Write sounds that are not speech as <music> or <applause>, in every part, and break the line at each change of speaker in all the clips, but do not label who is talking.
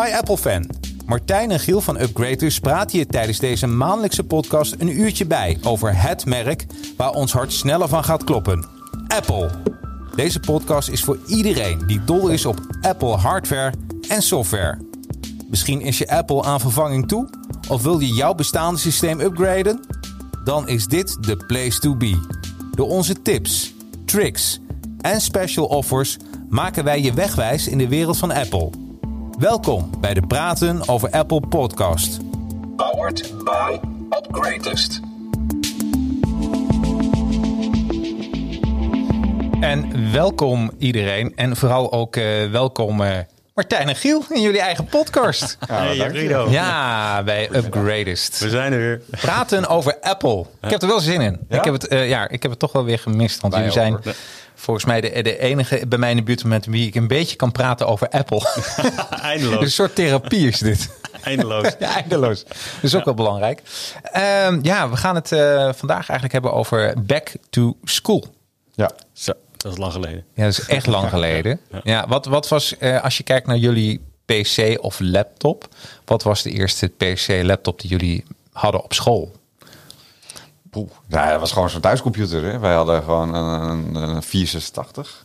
Hi Apple fan. Martijn en Giel van Upgraders praten je tijdens deze maandelijkse podcast een uurtje bij over het merk waar ons hart sneller van gaat kloppen: Apple. Deze podcast is voor iedereen die dol is op Apple hardware en software. Misschien is je Apple aan vervanging toe of wil je jouw bestaande systeem upgraden? Dan is dit de place to be. Door onze tips, tricks en special offers maken wij je wegwijs in de wereld van Apple. Welkom bij de Praten over Apple podcast.
Powered by Upgradest.
En welkom iedereen en vooral ook eh, welkom eh, Martijn en Giel in jullie eigen podcast.
Hey,
<laughs>
Rido.
Ja, bij Upgradest.
We zijn er weer.
Praten over Apple. Ik heb er wel zin in. Ik, heb het, eh, ja, ik heb het toch wel weer gemist. Want jullie zijn volgens mij de, de enige bij mij in de buurt met wie ik een beetje kan praten over <laughs> Apple.
Eindeloos.
Een soort therapie is dit.
<laughs> Eindeloos.
<laughs> Ja, eindeloos. Dat is ook wel belangrijk. Ehm, ja, we gaan het eh, vandaag eigenlijk hebben over back to school.
Ja,
Zo, dat is lang geleden.
Ja, dat is <laughs> echt lang geleden. Ja, wat, wat was, eh, als je kijkt naar jullie PC of laptop, wat was de eerste PC-laptop die jullie hadden op school?
poeh. Nou, dat was gewoon zo'n thuiscomputer. Hè. Wij hadden gewoon een, een, een 486.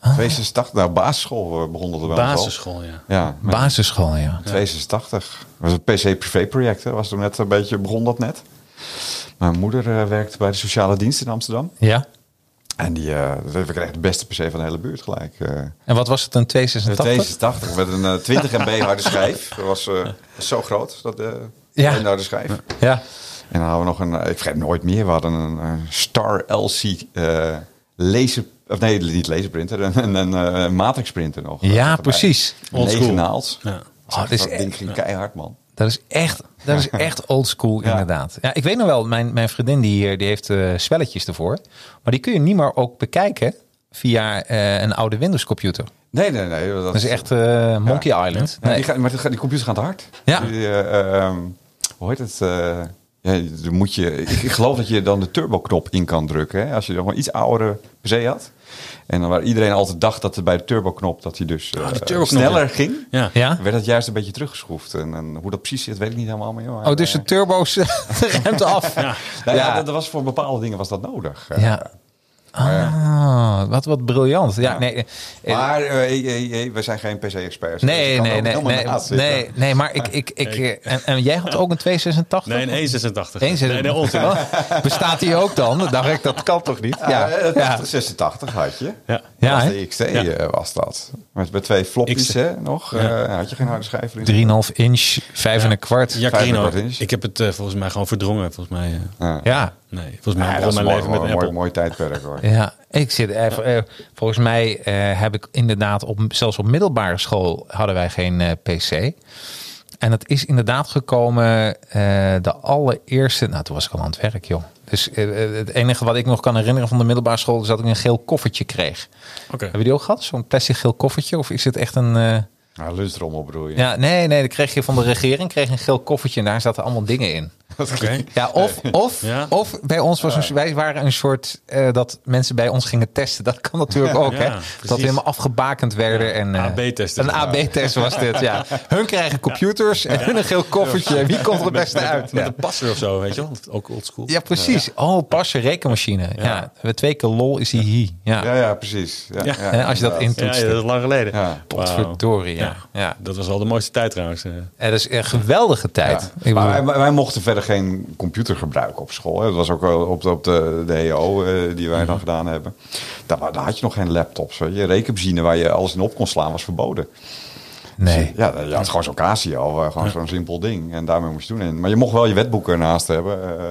286, nou basisschool eh, begon dat er wel.
Basisschool, ja.
Al. Ja, met
Basisschool, ja.
286. Dat was een PC-privé-project. Was toen net een beetje, begon dat net. Mijn moeder eh, werkte bij de sociale dienst in Amsterdam.
Ja.
En die, eh we kregen de beste PC van de hele buurt gelijk. eh.
En wat was het, een
De
286?
286 met een eh, 20 MB harde schijf. Dat was eh, zo groot, dat eh
Ja.
een harde schijf.
Ja.
En dan hadden we nog een, eh, ik vergeet nooit meer, we hadden een, eh, Star LC eh, laser, of nee, niet laserprinter, <laughs> een, een, eh, matrixprinter nog.
Ja,
Erbij.
precies.
Negen
Oldschool.
naald.
Ja.
Oh, dat is
dat ding ging keihard, man.
Dat is echt, dat is echt old school, inderdaad. Ja, ik weet nog wel, mijn, mijn vriendin die, eh, die heeft eh, spelletjes ervoor. Maar die kun je niet meer ook bekijken via eh, een oude Windows computer.
Nee, nee, nee.
Dat is echt eh, Monkey Island.
Ja,
Nee.
die, gaat, maar die, gaat- die computer gaat hard.
Ja.
Die, eh, ehm, hoe heet het? eh, ja, dan moet je, ik, ik geloof dat je dan de turbo-knop in kan drukken. Hè? Als je nog een iets oudere PC had. En dan waar iedereen altijd dacht dat er bij de turbo-knop dat hij dus
Ah,
eh,
de turbo-knop,
sneller
ja.
ging.
Ja.
Ja?
Werd dat juist een beetje teruggeschroefd. En, en hoe dat precies zit, weet ik niet helemaal meer. maar,
Oh, dus
eh,
de turbo's <laughs> remt af. Ja.
nou ja, dat, dat was voor bepaalde dingen was dat nodig. Eh,
Ah, wat, wat briljant. Ja, nee. eh,
Maar eh, hey, hey, hey, we zijn geen PC-experts.
Nee, nee, nee, nee, nee, nee, maar ik, ik, ik, eh, en, en jij had ook een 286?
Nee, een 186.
Eens
Nee, nee, ons. Ja.
<laughs> Bestaat die ook dan? Dan dacht ik, dat kan toch niet?
Ja,
Ja, ja.
86 had je.
Ja, E.
was
hè?
de XT
Ja.
eh, was dat. Met, met twee floppies
XT.
hè, nog. Eh, had je geen harde schijf erin.
3,5 inch, 5 en een kwart. Ja.
Jacarino.
Vijf en een kwart inch.
Ik heb het eh, volgens mij gewoon verdrongen. Volgens mij, eh,
ja.
nee, volgens mij
Ja,
begon
dat is
mijn
mooi,
leven
mooi,
met
mooi,
een Apple.
mooi, tijdperk hoor.
ik zit even. eh, volgens mij eh, heb ik inderdaad, op, zelfs op middelbare school hadden wij geen eh, PC. En dat is inderdaad gekomen eh, de allereerste. Nou, toen was ik al aan het werk, joh. Dus eh, eh, het enige wat ik nog kan herinneren van de middelbare school is dat ik een geel koffertje kreeg.
Oké.
<laughs>
Hebben jullie ook gehad? Zo'n plastic geel koffertje? Of is het echt een. eh,
Nou, lustrommel bedoel je.
Ja, nee, nee, dat kreeg je van de regering, kreeg een geel koffertje en daar zaten allemaal dingen in.
Oké.
Ja, of, of,
Ja.
of bij ons was een, wij waren een soort eh, dat mensen bij ons gingen testen. Dat kan natuurlijk ook,
Ja,
hè?
precies.
Dat we helemaal afgebakend werden. en, eh,
AB-testen.
Een
Ja.
AB-test was dit,
<laughs>
ja. Hun krijgen computers en hun een geel koffertje. Wie komt er het beste uit?
Met
Ja.
een passer of zo, weet je wel. Ook oldschool.
Ja, precies. Oh, passen, rekenmachine. Ja. we twee keer lol is hij hier. Ja.
ja, ja, precies. Ja,
Ja.
Hè, als je dat
Ja, ja,
inderdaad.
intoetst.
dat is lang geleden.
Ja.
Wauw.
Potverdorie, ja. Ja.
Dat was wel de mooiste tijd trouwens. eh.
Eh, dat is een geweldige tijd.
Ja.
Ik bedoel-
Maar wij, wij- wij mochten verder geen computer gebruiken op school. Hè. Dat was ook wel op de, op de, de EO eh, die
Mhm.
wij dan gedaan hebben. Daar, wa- daar had je nog geen laptops. Hè. Je rekenmachine waar je alles in op kon slaan was verboden.
nee.
Ja, je had gewoon zo'n Casio, eh, gewoon zo'n simpel ding. En daarmee moest je doen. En, maar je mocht wel je wetboek ernaast hebben. eh,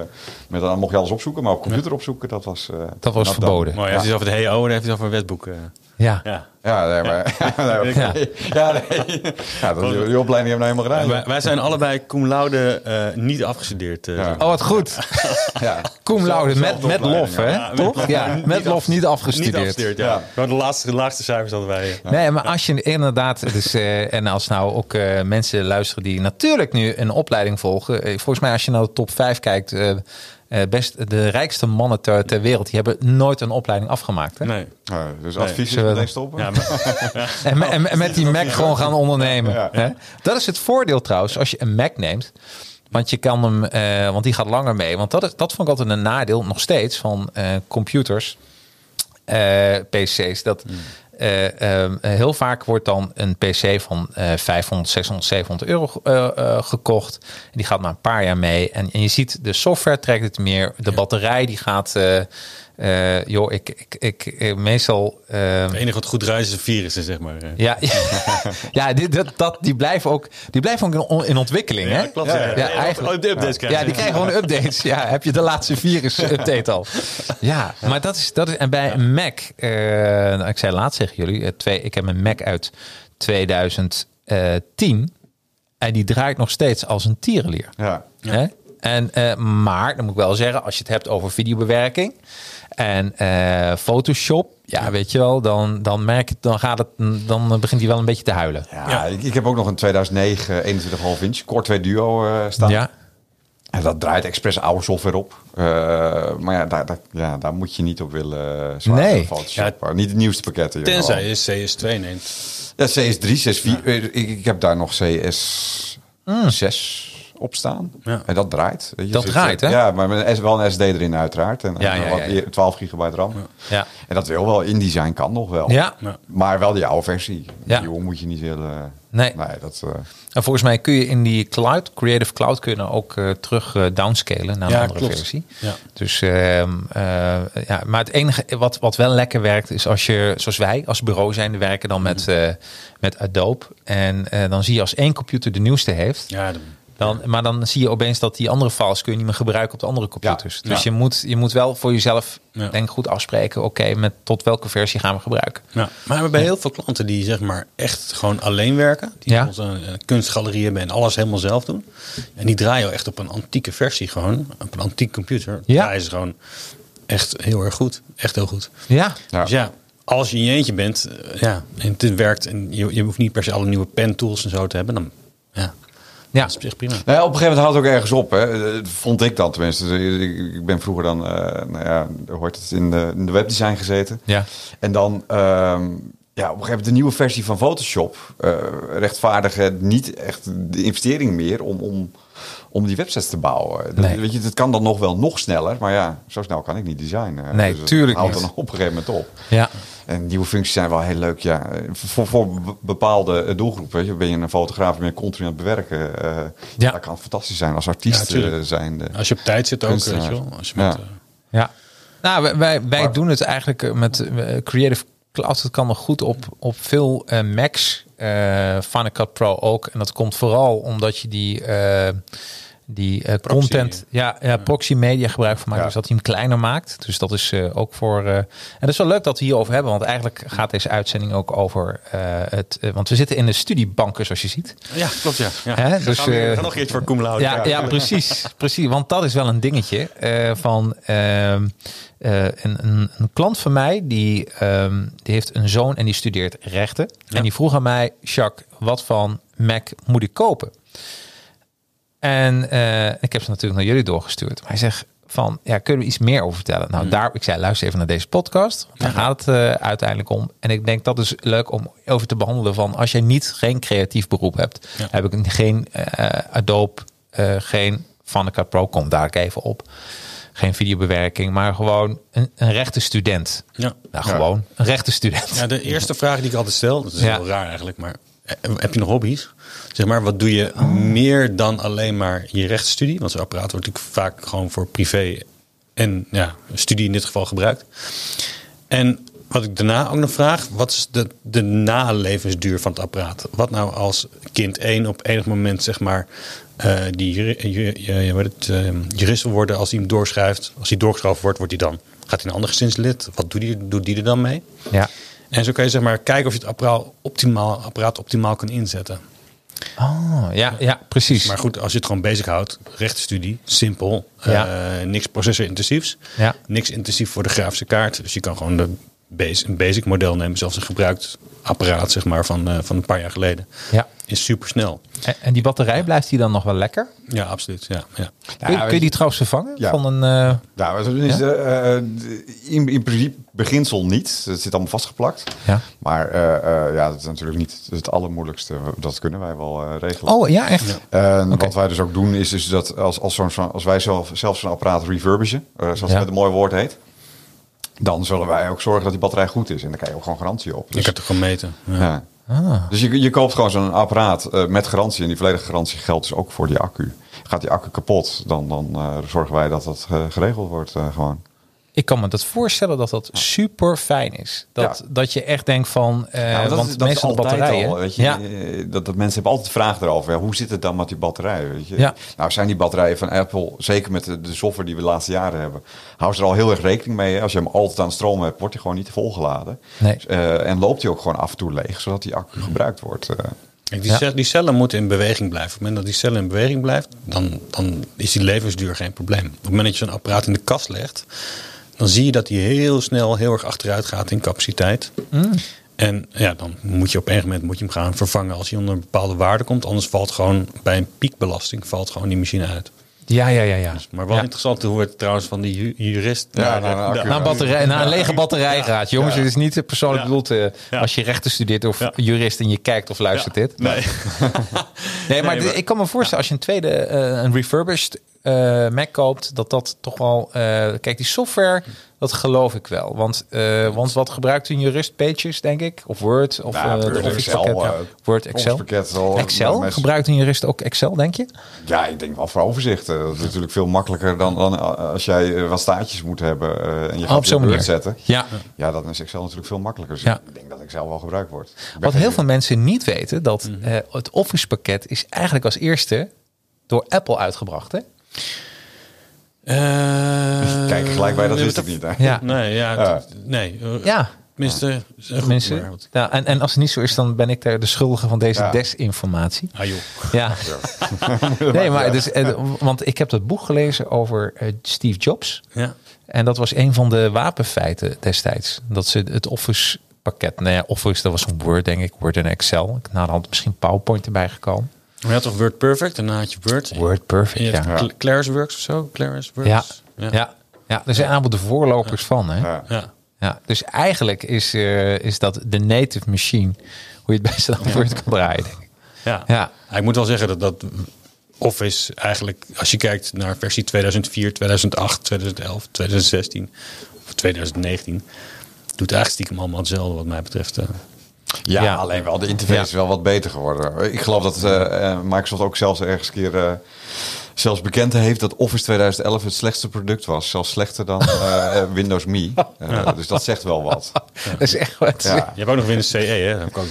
met, dan mocht je alles opzoeken, maar op computer opzoeken, dat was... eh,
Dat was
dan-
verboden.
Mooi, als je het over de HEO en dan heeft hij het over een wetboek. eh.
Ja.
Ja.
Ja, nee, maar... <laughs> Ja, nee,
Ja.
ja, nee. Ja, dat, die, die opleiding hebben we nou helemaal gedaan.
Wij, wij zijn allebei cum laude eh, niet afgestudeerd. eh,
Ja.
Oh, wat goed.
Ja.
Cum laude, met,
Zelfde
met
opleiding,
lof, hè?
Ja, met
Toch?
lof,
Ja,
niet
met lof
af-
niet
Niet
afgestudeerd.
afgestudeerd, ja.
Ja.
Maar de laatste, de laagste cijfers hadden wij. eh.
Nee, maar als je inderdaad, <laughs> dus, eh, en als nou ook eh, nou mensen luisteren die natuurlijk nu een opleiding volgen. eh, volgens mij, als je naar de top 5 kijkt, eh, eh, best de rijkste mannen ter, ter wereld, die hebben nooit een opleiding afgemaakt. Hè?
Nee.
Nou, dus
Nee.
advies is
Zullen we-
meteen stoppen.
Ja, maar,
En, me- en, en met die Mac gewoon gaan ondernemen.
Oh, Ja.
Hè? Dat is het voordeel trouwens, als je een Mac neemt. Want je kan hem, eh, want die gaat langer mee. Want dat, is, dat vond ik altijd een nadeel, nog steeds, van eh, computers, eh, PC's. Dat
Hmm.
eh, eh, heel vaak wordt dan een PC van eh 500, 600, 700 euro eh, eh, gekocht. En die gaat maar een paar jaar mee. En, en je ziet, de software trekt het meer. De batterij die gaat. eh, eh, joh, ik, ik, ik, eh, meestal. eh,
het enige wat goed ruist is een virus, zeg maar. eh.
ja, <laughs> ja die, dat, dat, die blijven ook, die blijven ook in, on- in ontwikkeling. hè?
Ja, klopt, ja. Ja,
eigenlijk.
op de updates krijgen.
Ja, die krijgen gewoon updates. Ja, heb je de laatste
<laughs>
virus-update al? Ja, maar dat is. Dat is en bij een Mac, eh, nou, ik zei laatst tegen jullie, eh, twee, ik heb een Mac uit 2010 en die draait nog steeds als een tierenlier.
Ja.
Hè? En, eh, maar, dan moet ik wel zeggen, als je het hebt over videobewerking en eh, Photoshop, ja, weet je wel, dan, dan merk je, dan, gaat het, dan begint hij wel een beetje te huilen.
Ja,
Ja.
Ik, ik heb ook nog een 2009 21,5 inch Core 2 Duo eh, staan.
Ja,
En dat draait expres oude software op. Eh, maar ja daar, daar- ja, daar moet je niet op willen eh, zwaaien.
Nee.
Photoshop. niet de nieuwste pakketten. joh.
Tenzij je CS2 neemt.
Ja, CS3, CS4. eh, Ik, ik heb daar nog CS6 op staan.
Ja.
En dat draait. weet je.
Dat
Dus,
draait, hè?
Ja, maar met een S- wel een SD erin uiteraard. En,
Ja,
en
ja,
wat
ja,
meer- 12 gigabyte RAM.
Ja.
En dat wil wel. InDesign kan nog wel.
Ja.
Ja.
Maar wel die oude versie.
Ja.
Die jongen moet je niet willen...
Nee.
dat... eh,
en volgens mij kun je in die cloud, Creative Cloud, kun je nou ook eh, terug eh, downscalen naar een
Ja,
andere
klopt.
versie.
Ja.
Dus, ehm, eh, ja, maar het enige wat, wat wel lekker werkt, is als je, zoals wij als bureau zijn, werken dan met,
Mhm.
eh, met Adobe. En eh, dan zie je als één computer de nieuwste heeft,
Ja, dan-
Dan, maar dan zie je opeens dat die andere files kun je niet meer gebruiken op de andere computers.
Ja.
dus
Ja.
Je, moet, je moet wel voor jezelf
Ja.
denk ik, goed afspreken. Oké, met tot welke versie gaan we gebruiken?
Ja, maar bij heel veel klanten die zeg maar echt gewoon alleen werken, die
Ja.
ons een, een kunstgalerie hebben en alles helemaal zelf doen, en die draaien echt op een antieke versie gewoon, op een antiek computer,
Ja.
draaien ze gewoon echt heel erg goed, echt heel goed.
Ja,
Ja.
Dus ja, als je in je eentje bent, eh, ja, en het werkt en je, je hoeft niet per se alle nieuwe pen tools en zo te hebben, dan ja,
ja.
dat is op zich prima.
Nou ja, op een gegeven moment houdt het ook ergens op. Hè. Eh, Vond ik dan tenminste. Dus ik- Ik ben vroeger dan, eh nou ja, hoort het, in de, in de webdesign gezeten.
Ja.
En dan, ehm, ja, op een gegeven moment de nieuwe versie van Photoshop eh rechtvaardigde niet echt de investering meer om, om, om die websites te bouwen. Dat-
Nee.
Weet je, dat kan dan nog wel nog sneller, maar ja, zo snel kan ik niet designen. Dus
Nee,
het
tuurlijk
houdt
niet.
dan op een gegeven moment op.
Ja.
En nieuwe functies zijn wel heel leuk, ja. Voor, voor be- bepaalde eh, doelgroepen. weet je. Ben je een fotograaf, ben je continu aan het bewerken. eh
Ja.
Dat kan fantastisch zijn als artiest
Ja, tuurlijk.
zijn. zijnde.
Als je op tijd zit ook, weet je
Kunstenaar.
wel. Als je
Ja.
met, eh,
ja. Nou, wij- wij, wij doen het eigenlijk eh, met eh, Creative Cloud. Dat kan nog goed op, op veel eh, Macs. eh Final Cut Pro ook. En dat komt vooral omdat je die, eh, die eh,
Proxy.
content, ja, ja, proxy media gebruik van maakt.
Ja.
Dus dat hij hem kleiner maakt. Dus dat is eh, ook voor. eh, en dat is wel leuk dat we hierover hebben. Want eigenlijk gaat deze uitzending ook over eh, het. eh, want we zitten in de studiebanken, zoals je ziet.
ja, klopt ja. ja.
Hè, dus,
gaan we weer-
eh,
we gaan nog iets voor cum laude.
Ja, ja precies, <laughs> precies. Want dat is wel een dingetje. eh, van, ehm, eh, een, een, een klant van mij, die, ehm, die heeft een zoon en die studeert rechten. En die vroeg aan mij, Jacques, wat van Mac moet ik kopen? En eh, ik heb ze natuurlijk naar jullie doorgestuurd. Maar hij zegt van, ja, kunnen we iets meer over vertellen? Nou,
Mm.
daar, ik zei, luister even naar deze podcast. Daar gaat het eh, uiteindelijk om. En ik denk, dat is leuk om over te behandelen van... als jij niet geen creatief beroep hebt...
Ja.
heb ik een- geen eh, Adobe, eh, geen Vandercard Pro, kom daar ook even op. Geen videobewerking, maar gewoon een, een rechte student.
Ja.
Nou,
Ja.
gewoon een rechte student.
Ja, de eerste vraag die ik altijd stel, dat is
Ja.
heel raar eigenlijk, maar eh, heb je nog hobby's? Zeg maar, wat doe je meer dan alleen maar je rechtsstudie? Want zo'n apparaat wordt natuurlijk vaak gewoon voor privé en ja, studie in dit geval gebruikt. En wat ik daarna ook nog vraag, wat is de, de nalevensduur van het apparaat? Wat nou als kind 1 op enig moment, zeg maar, eh, die juri- ju- je- je weet het, eh, jurist wil worden, als hij hem doorschrijft, als hij doorgeschoven wordt, wordt hij dan? Gaat hij een ander gezinslid? Wat doet die, doet die er dan mee?
Ja.
En zo kan je zeg maar kijken of je het apparaat optimaal, apparaat optimaal kan inzetten.
Oh, ja, ja, precies.
Maar goed, als je het gewoon bezig houdt, rechtenstudie, simpel,
Ja.
eh, niks processorintensiefs,
Ja.
niks intensief voor de grafische kaart. Dus je kan gewoon de base, een basic model nemen, zelfs een gebruikt apparaat zeg maar, van, eh, van een paar jaar geleden,
Ja.
is supersnel.
En, en die batterij blijft die dan nog wel lekker?
Ja, absoluut. Ja, ja.
kun, je- kun je die trouwens vervangen?
Ja.
Van een, eh,
Nou, maar zo is de, eh, de- in, in principe beginsel niet. Het zit allemaal vastgeplakt.
Ja.
Maar eh, eh, ja, dat is natuurlijk niet het allermoeilijkste. eh, Dat kunnen wij wel eh, regelen.
Oh ja, echt?
En Wat wij dus ook doen is, dus dat als, als, zo'n, zo'n- als wij zelf, zelf zo'n apparaat refurbishen, eh, zoals
Ja.
het met een mooi woord heet, dan zullen wij ook zorgen dat die batterij goed is. En daar krijg je ook gewoon garantie op.
Ik
Dus,
heb het gewoon meten. Ja.
ja.
Ah.
dus je, je koopt gewoon zo'n apparaat eh, met garantie. En die volledige garantie geldt dus ook voor die accu. Gaat die accu kapot, dan, dan eh, zorgen wij dat dat eh, geregeld wordt eh, gewoon.
Ik kan me dat voorstellen dat dat super fijn is. Dat,
Ja.
dat je echt denkt van, eh,
Ja, maar dat
want
is- dat is
mensen de
altijd
batterijen.
al, weet je,
ja.
eh, dat, dat mensen hebben altijd vragen erover. Ja, hoe zit het dan met die batterijen? Weet je?
Ja.
Nou, zijn die batterijen van Apple, zeker met de, de software die we de laatste jaren hebben, houden ze er al heel erg rekening mee. hè. Als je hem altijd aan stroom hebt, wordt hij gewoon niet volgeladen.
Nee. Hmm.
Eh, en loopt hij ook gewoon af en toe leeg, zodat die accu gebruikt wordt. eh.
Kijk, die,
Ja.
cel- die cellen moeten in beweging blijven. Op het moment dat die cellen in beweging blijft, dan, dan is die levensduur geen probleem. Op het moment dat je zo'n apparaat in de kast legt, dan zie je dat die heel snel heel erg achteruit gaat in capaciteit.
Hmm.
En ja, dan moet je op een gegeven moment moet je hem gaan vervangen als hij onder een bepaalde waarde komt. Anders valt gewoon bij een piekbelasting valt gewoon die machine uit.
ja, ja, ja,
Dus,
ja.
Maar wel
Ja.
interessant hoe het trouwens van die ju- jurist.
Ja,
naar
nou,
de-
nou,
de-
oké.
Naar een, batterij, naar een lege batterij gaat. Jongens, het is niet eh, persoonlijk
Ja.
bedoeld eh,
Ja.
als je rechten studeert of
Ja.
jurist en je kijkt of luistert dit.
Nee.
Nee, maar,
Nee, maar-
ik kan me voorstellen als je een tweede, eh, een refurbished eh, Mac koopt, dat dat toch wel. eh, kijk, die software, dat geloof ik wel. Want, eh, want wat gebruikt een jurist? Pages, denk ik, of Word of
Ja,
eh, de
Word,
Office
Nou, Excel,
pakket.
eh,
Ja, Word, Excel.
Office pakket al-
Excel
met-
gebruikt een jurist ook Excel, denk je?
Ja, ik denk wel voor overzicht. eh, Dat is natuurlijk veel makkelijker dan, dan eh, als jij eh, wat staartjes moet hebben eh, en je gaat
op zo'n
het
manier.
zetten.
Ja.
Ja, dan is Excel natuurlijk veel makkelijker. Dus
Ja.
ik denk dat Excel wel gebruikt wordt. Ik ben
Wat
geen-
heel veel mensen niet weten, dat
Mhm.
eh, het Office pakket is eigenlijk als eerste door Apple uitgebracht. Hè?
Eh,
Kijk, gelijk bij dat
nee,
wist
wat
ik niet. hè.
Ja.
Nee, ja.
Ja.
t- Nee. eh,
Ja.
Tenminste, zeg goed, maar
Mensen.
wat-
Ja, en, en als het niet zo is, dan ben ik daar de schuldige van deze
Ja.
desinformatie.
Ah joh.
Ja. <laughs> nee, maar dus, eh, want ik heb dat boek gelezen over eh, Steve Jobs.
Ja.
En dat was een van de wapenfeiten destijds. Dat ze het Office pakket, nou ja, Office, dat was een Word, denk ik, Word en Excel. Ik na de hand misschien PowerPoint erbij gekomen.
Maar je had toch Word Perfect en dan had je Word.
Word
En je
Perfect,
had
ja.
Cl- Clarisworks of zo? Clarisworks?
Ja, ja. ja. er zijn allemaal de voorlopers van. Hè?
Ja.
Ja.
Ja, dus eigenlijk is, eh, is dat de native machine, hoe je het beste aan Word kan draaien. denk ik.
Ja.
Ja.
Ja, Ik moet wel zeggen dat dat Office eigenlijk, als je kijkt naar versie 2004, 2008, 2011, 2016 of 2019, doet eigenlijk stiekem allemaal hetzelfde wat mij betreft. eh.
Ja,
Ja.
alleen wel. De interface
Ja.
is wel wat beter geworden. Ik geloof dat eh, eh, Microsoft ook zelfs ergens een keer eh, zelfs bekend heeft dat Office 2011 het slechtste product was. Zelfs slechter dan eh, eh, Windows Me.
<laughs>
Eh, Dus dat zegt wel wat.
Dat is echt wat.
Ja.
Ja,
Je hebt ook nog Windows CE, E, hè? Dat kan-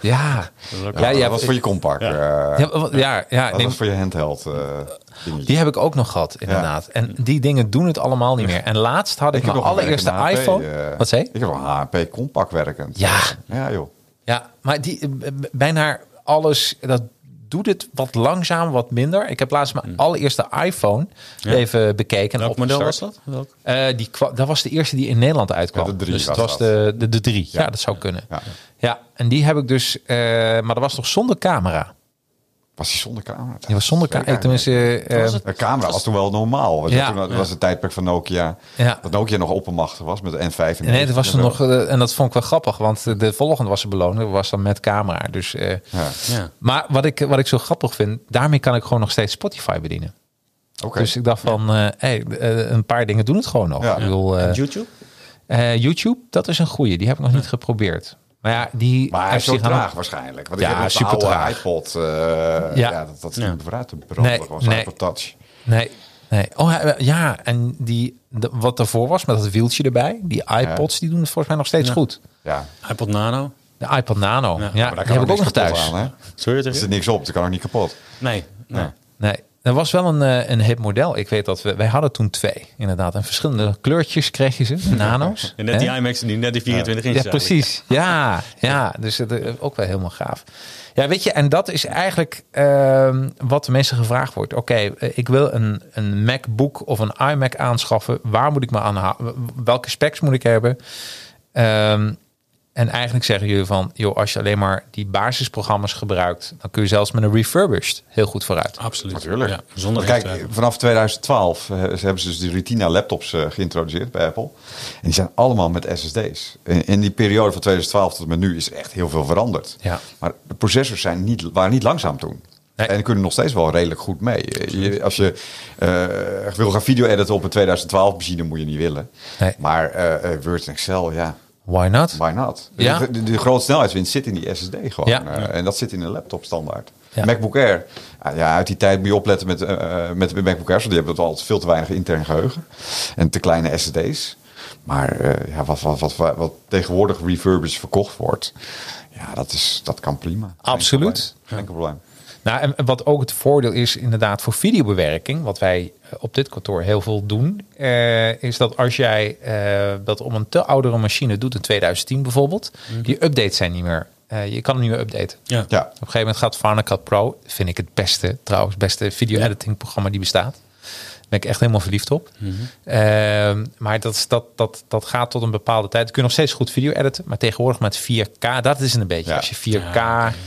ja.
ook-
ja,
dat
ja,
was voor je compact. eh,
ja, wat- ja, ja,
dat
nee,
was voor je handheld eh, dingetje.
Die heb ik ook nog gehad, inderdaad. En die dingen doen het allemaal niet meer. En laatst had ik,
heb
mijn
nog een
allereerste
werkende HP,
iPhone.
eh,
Wat zei je?
Ik heb een HP compact werkend.
Ja.
Ja, joh.
Ja, maar die, eh, b- bijna alles, dat doet het wat langzaam, wat minder. Ik heb laatst mijn allereerste iPhone even bekeken. en
Welk model was
opgestart.
dat? Welk?
Eh, die kwa- dat was de eerste die in Nederland uitkwam.
Ja, de drie
dus het
was
was
dat.
de, de, de drie. Ja. dat zou kunnen. Ja.
Ja.
en die heb ik dus... eh, maar dat was toch zonder camera?
Was die zonder camera?
Die was zonder camera.
Zeker.
Tenminste... eh,
Was het?
De camera was toen wel normaal.
Ja.
Ja. Toen was het tijdperk van Nokia.
Ja.
Dat Nokia nog oppermachtig was met de N5. en
Nee, dat was
en
er
zo.
nog, eh, en dat vond ik wel grappig, want eh, de volgende was de beloning, was dan met camera. Dus, eh,
Ja.
Ja.
Maar wat ik, wat ik zo grappig vind, daarmee kan ik gewoon nog steeds Spotify bedienen.
Oké.
Dus ik dacht van, eh, hey, eh, een paar dingen doen het gewoon nog.
Ja.
Ik bedoel, eh,
YouTube?
eh, YouTube, dat is een goeie, die heb ik nog niet geprobeerd. Maar ja, die
Maar hij is
die
zo
gaan-
traag waarschijnlijk. Want
Ja,
ik heb een
super
oude
traag.
iPod. eh,
Ja.
ja. dat, dat is niet vooruit te
Nee,
branden. gewoon zo'n
nee.
iPod Touch.
Nee, nee. Oh hij- ja, en die, de- wat daarvoor was met dat wieltje erbij, die iPods, die doen het volgens mij nog steeds goed.
Ja.
iPod Nano?
De iPod Nano, ja,
maar
die heb ik ook nog
kapot
thuis.
aan, hè?
Sorry, dat
Er zit niks op, dat kan ook niet kapot.
Nee. nee.
Nee, dat was wel een, eh, een hip model. Ik weet dat we, wij hadden toen twee, inderdaad. En verschillende kleurtjes kreeg je ze, nano's.
En net die
Hè?
IMAX en die net die 24 inch.
ja, precies. Ja, ja. Dus dat eh, ook wel helemaal gaaf. Ja, weet je, en dat is eigenlijk ehm, wat de mensen gevraagd wordt. Oké, eh, ik wil een, een MacBook of een iMac aanschaffen. Waar moet ik me aan houden? Welke specs moet ik hebben? Ehm, en eigenlijk zeggen jullie van, joh, als je alleen maar die basisprogramma's gebruikt, dan kun je zelfs met een refurbished heel goed vooruit.
Absoluut. Ja, zonder
Kijk,
Kijk,
vanaf 2012 eh, ze hebben ze dus die Retina laptops eh, geïntroduceerd bij Apple. En die zijn allemaal met SSD's. In, in die periode van 2012 tot en met nu is echt heel veel veranderd.
Ja.
Maar de processors zijn niet, waren niet langzaam toen.
Nee.
En kunnen nog steeds wel redelijk goed mee. Eh, je- als je eh, wil gaan video editen op een 2012 machine, moet je niet willen.
Nee.
Maar eh, eh, Word en Excel, ja,
Why not?
why not?
Ja.
De, de, de grote snelheidswinst zit in die SSD gewoon.
Ja.
Eh, en dat zit in een laptop standaard.
Ja.
MacBook Air. ah, ja, uit die tijd moet je opletten met, eh, eh, met de MacBook Airs. Want die hebben dat altijd veel te weinig intern geheugen. En te kleine SSD's. Maar eh, ja, wat, wat, wat, wat, wat tegenwoordig refurbished verkocht wordt. Ja, dat, is, dat kan prima. Geen
Absoluut.
probleem. Geen probleem.
Nou, en wat ook het voordeel is inderdaad voor videobewerking, wat wij eh, op dit kantoor heel veel doen, eh, is dat als jij eh, dat om een te oudere machine doet, in 2010 bijvoorbeeld, die updates zijn niet meer. eh, je kan hem niet meer updaten.
ja.
Mhm. Ja.
Op een gegeven moment gaat Final Cut Pro, vind ik het beste trouwens, beste video editing programma die bestaat. Daar ben ik echt helemaal verliefd op.
Mhm.
Ehm, maar dat, is- dat, dat, dat gaat tot een bepaalde tijd. Kun je nog steeds goed video editen, maar tegenwoordig met 4K, dat is het een beetje.
Ja.
Als je 4K...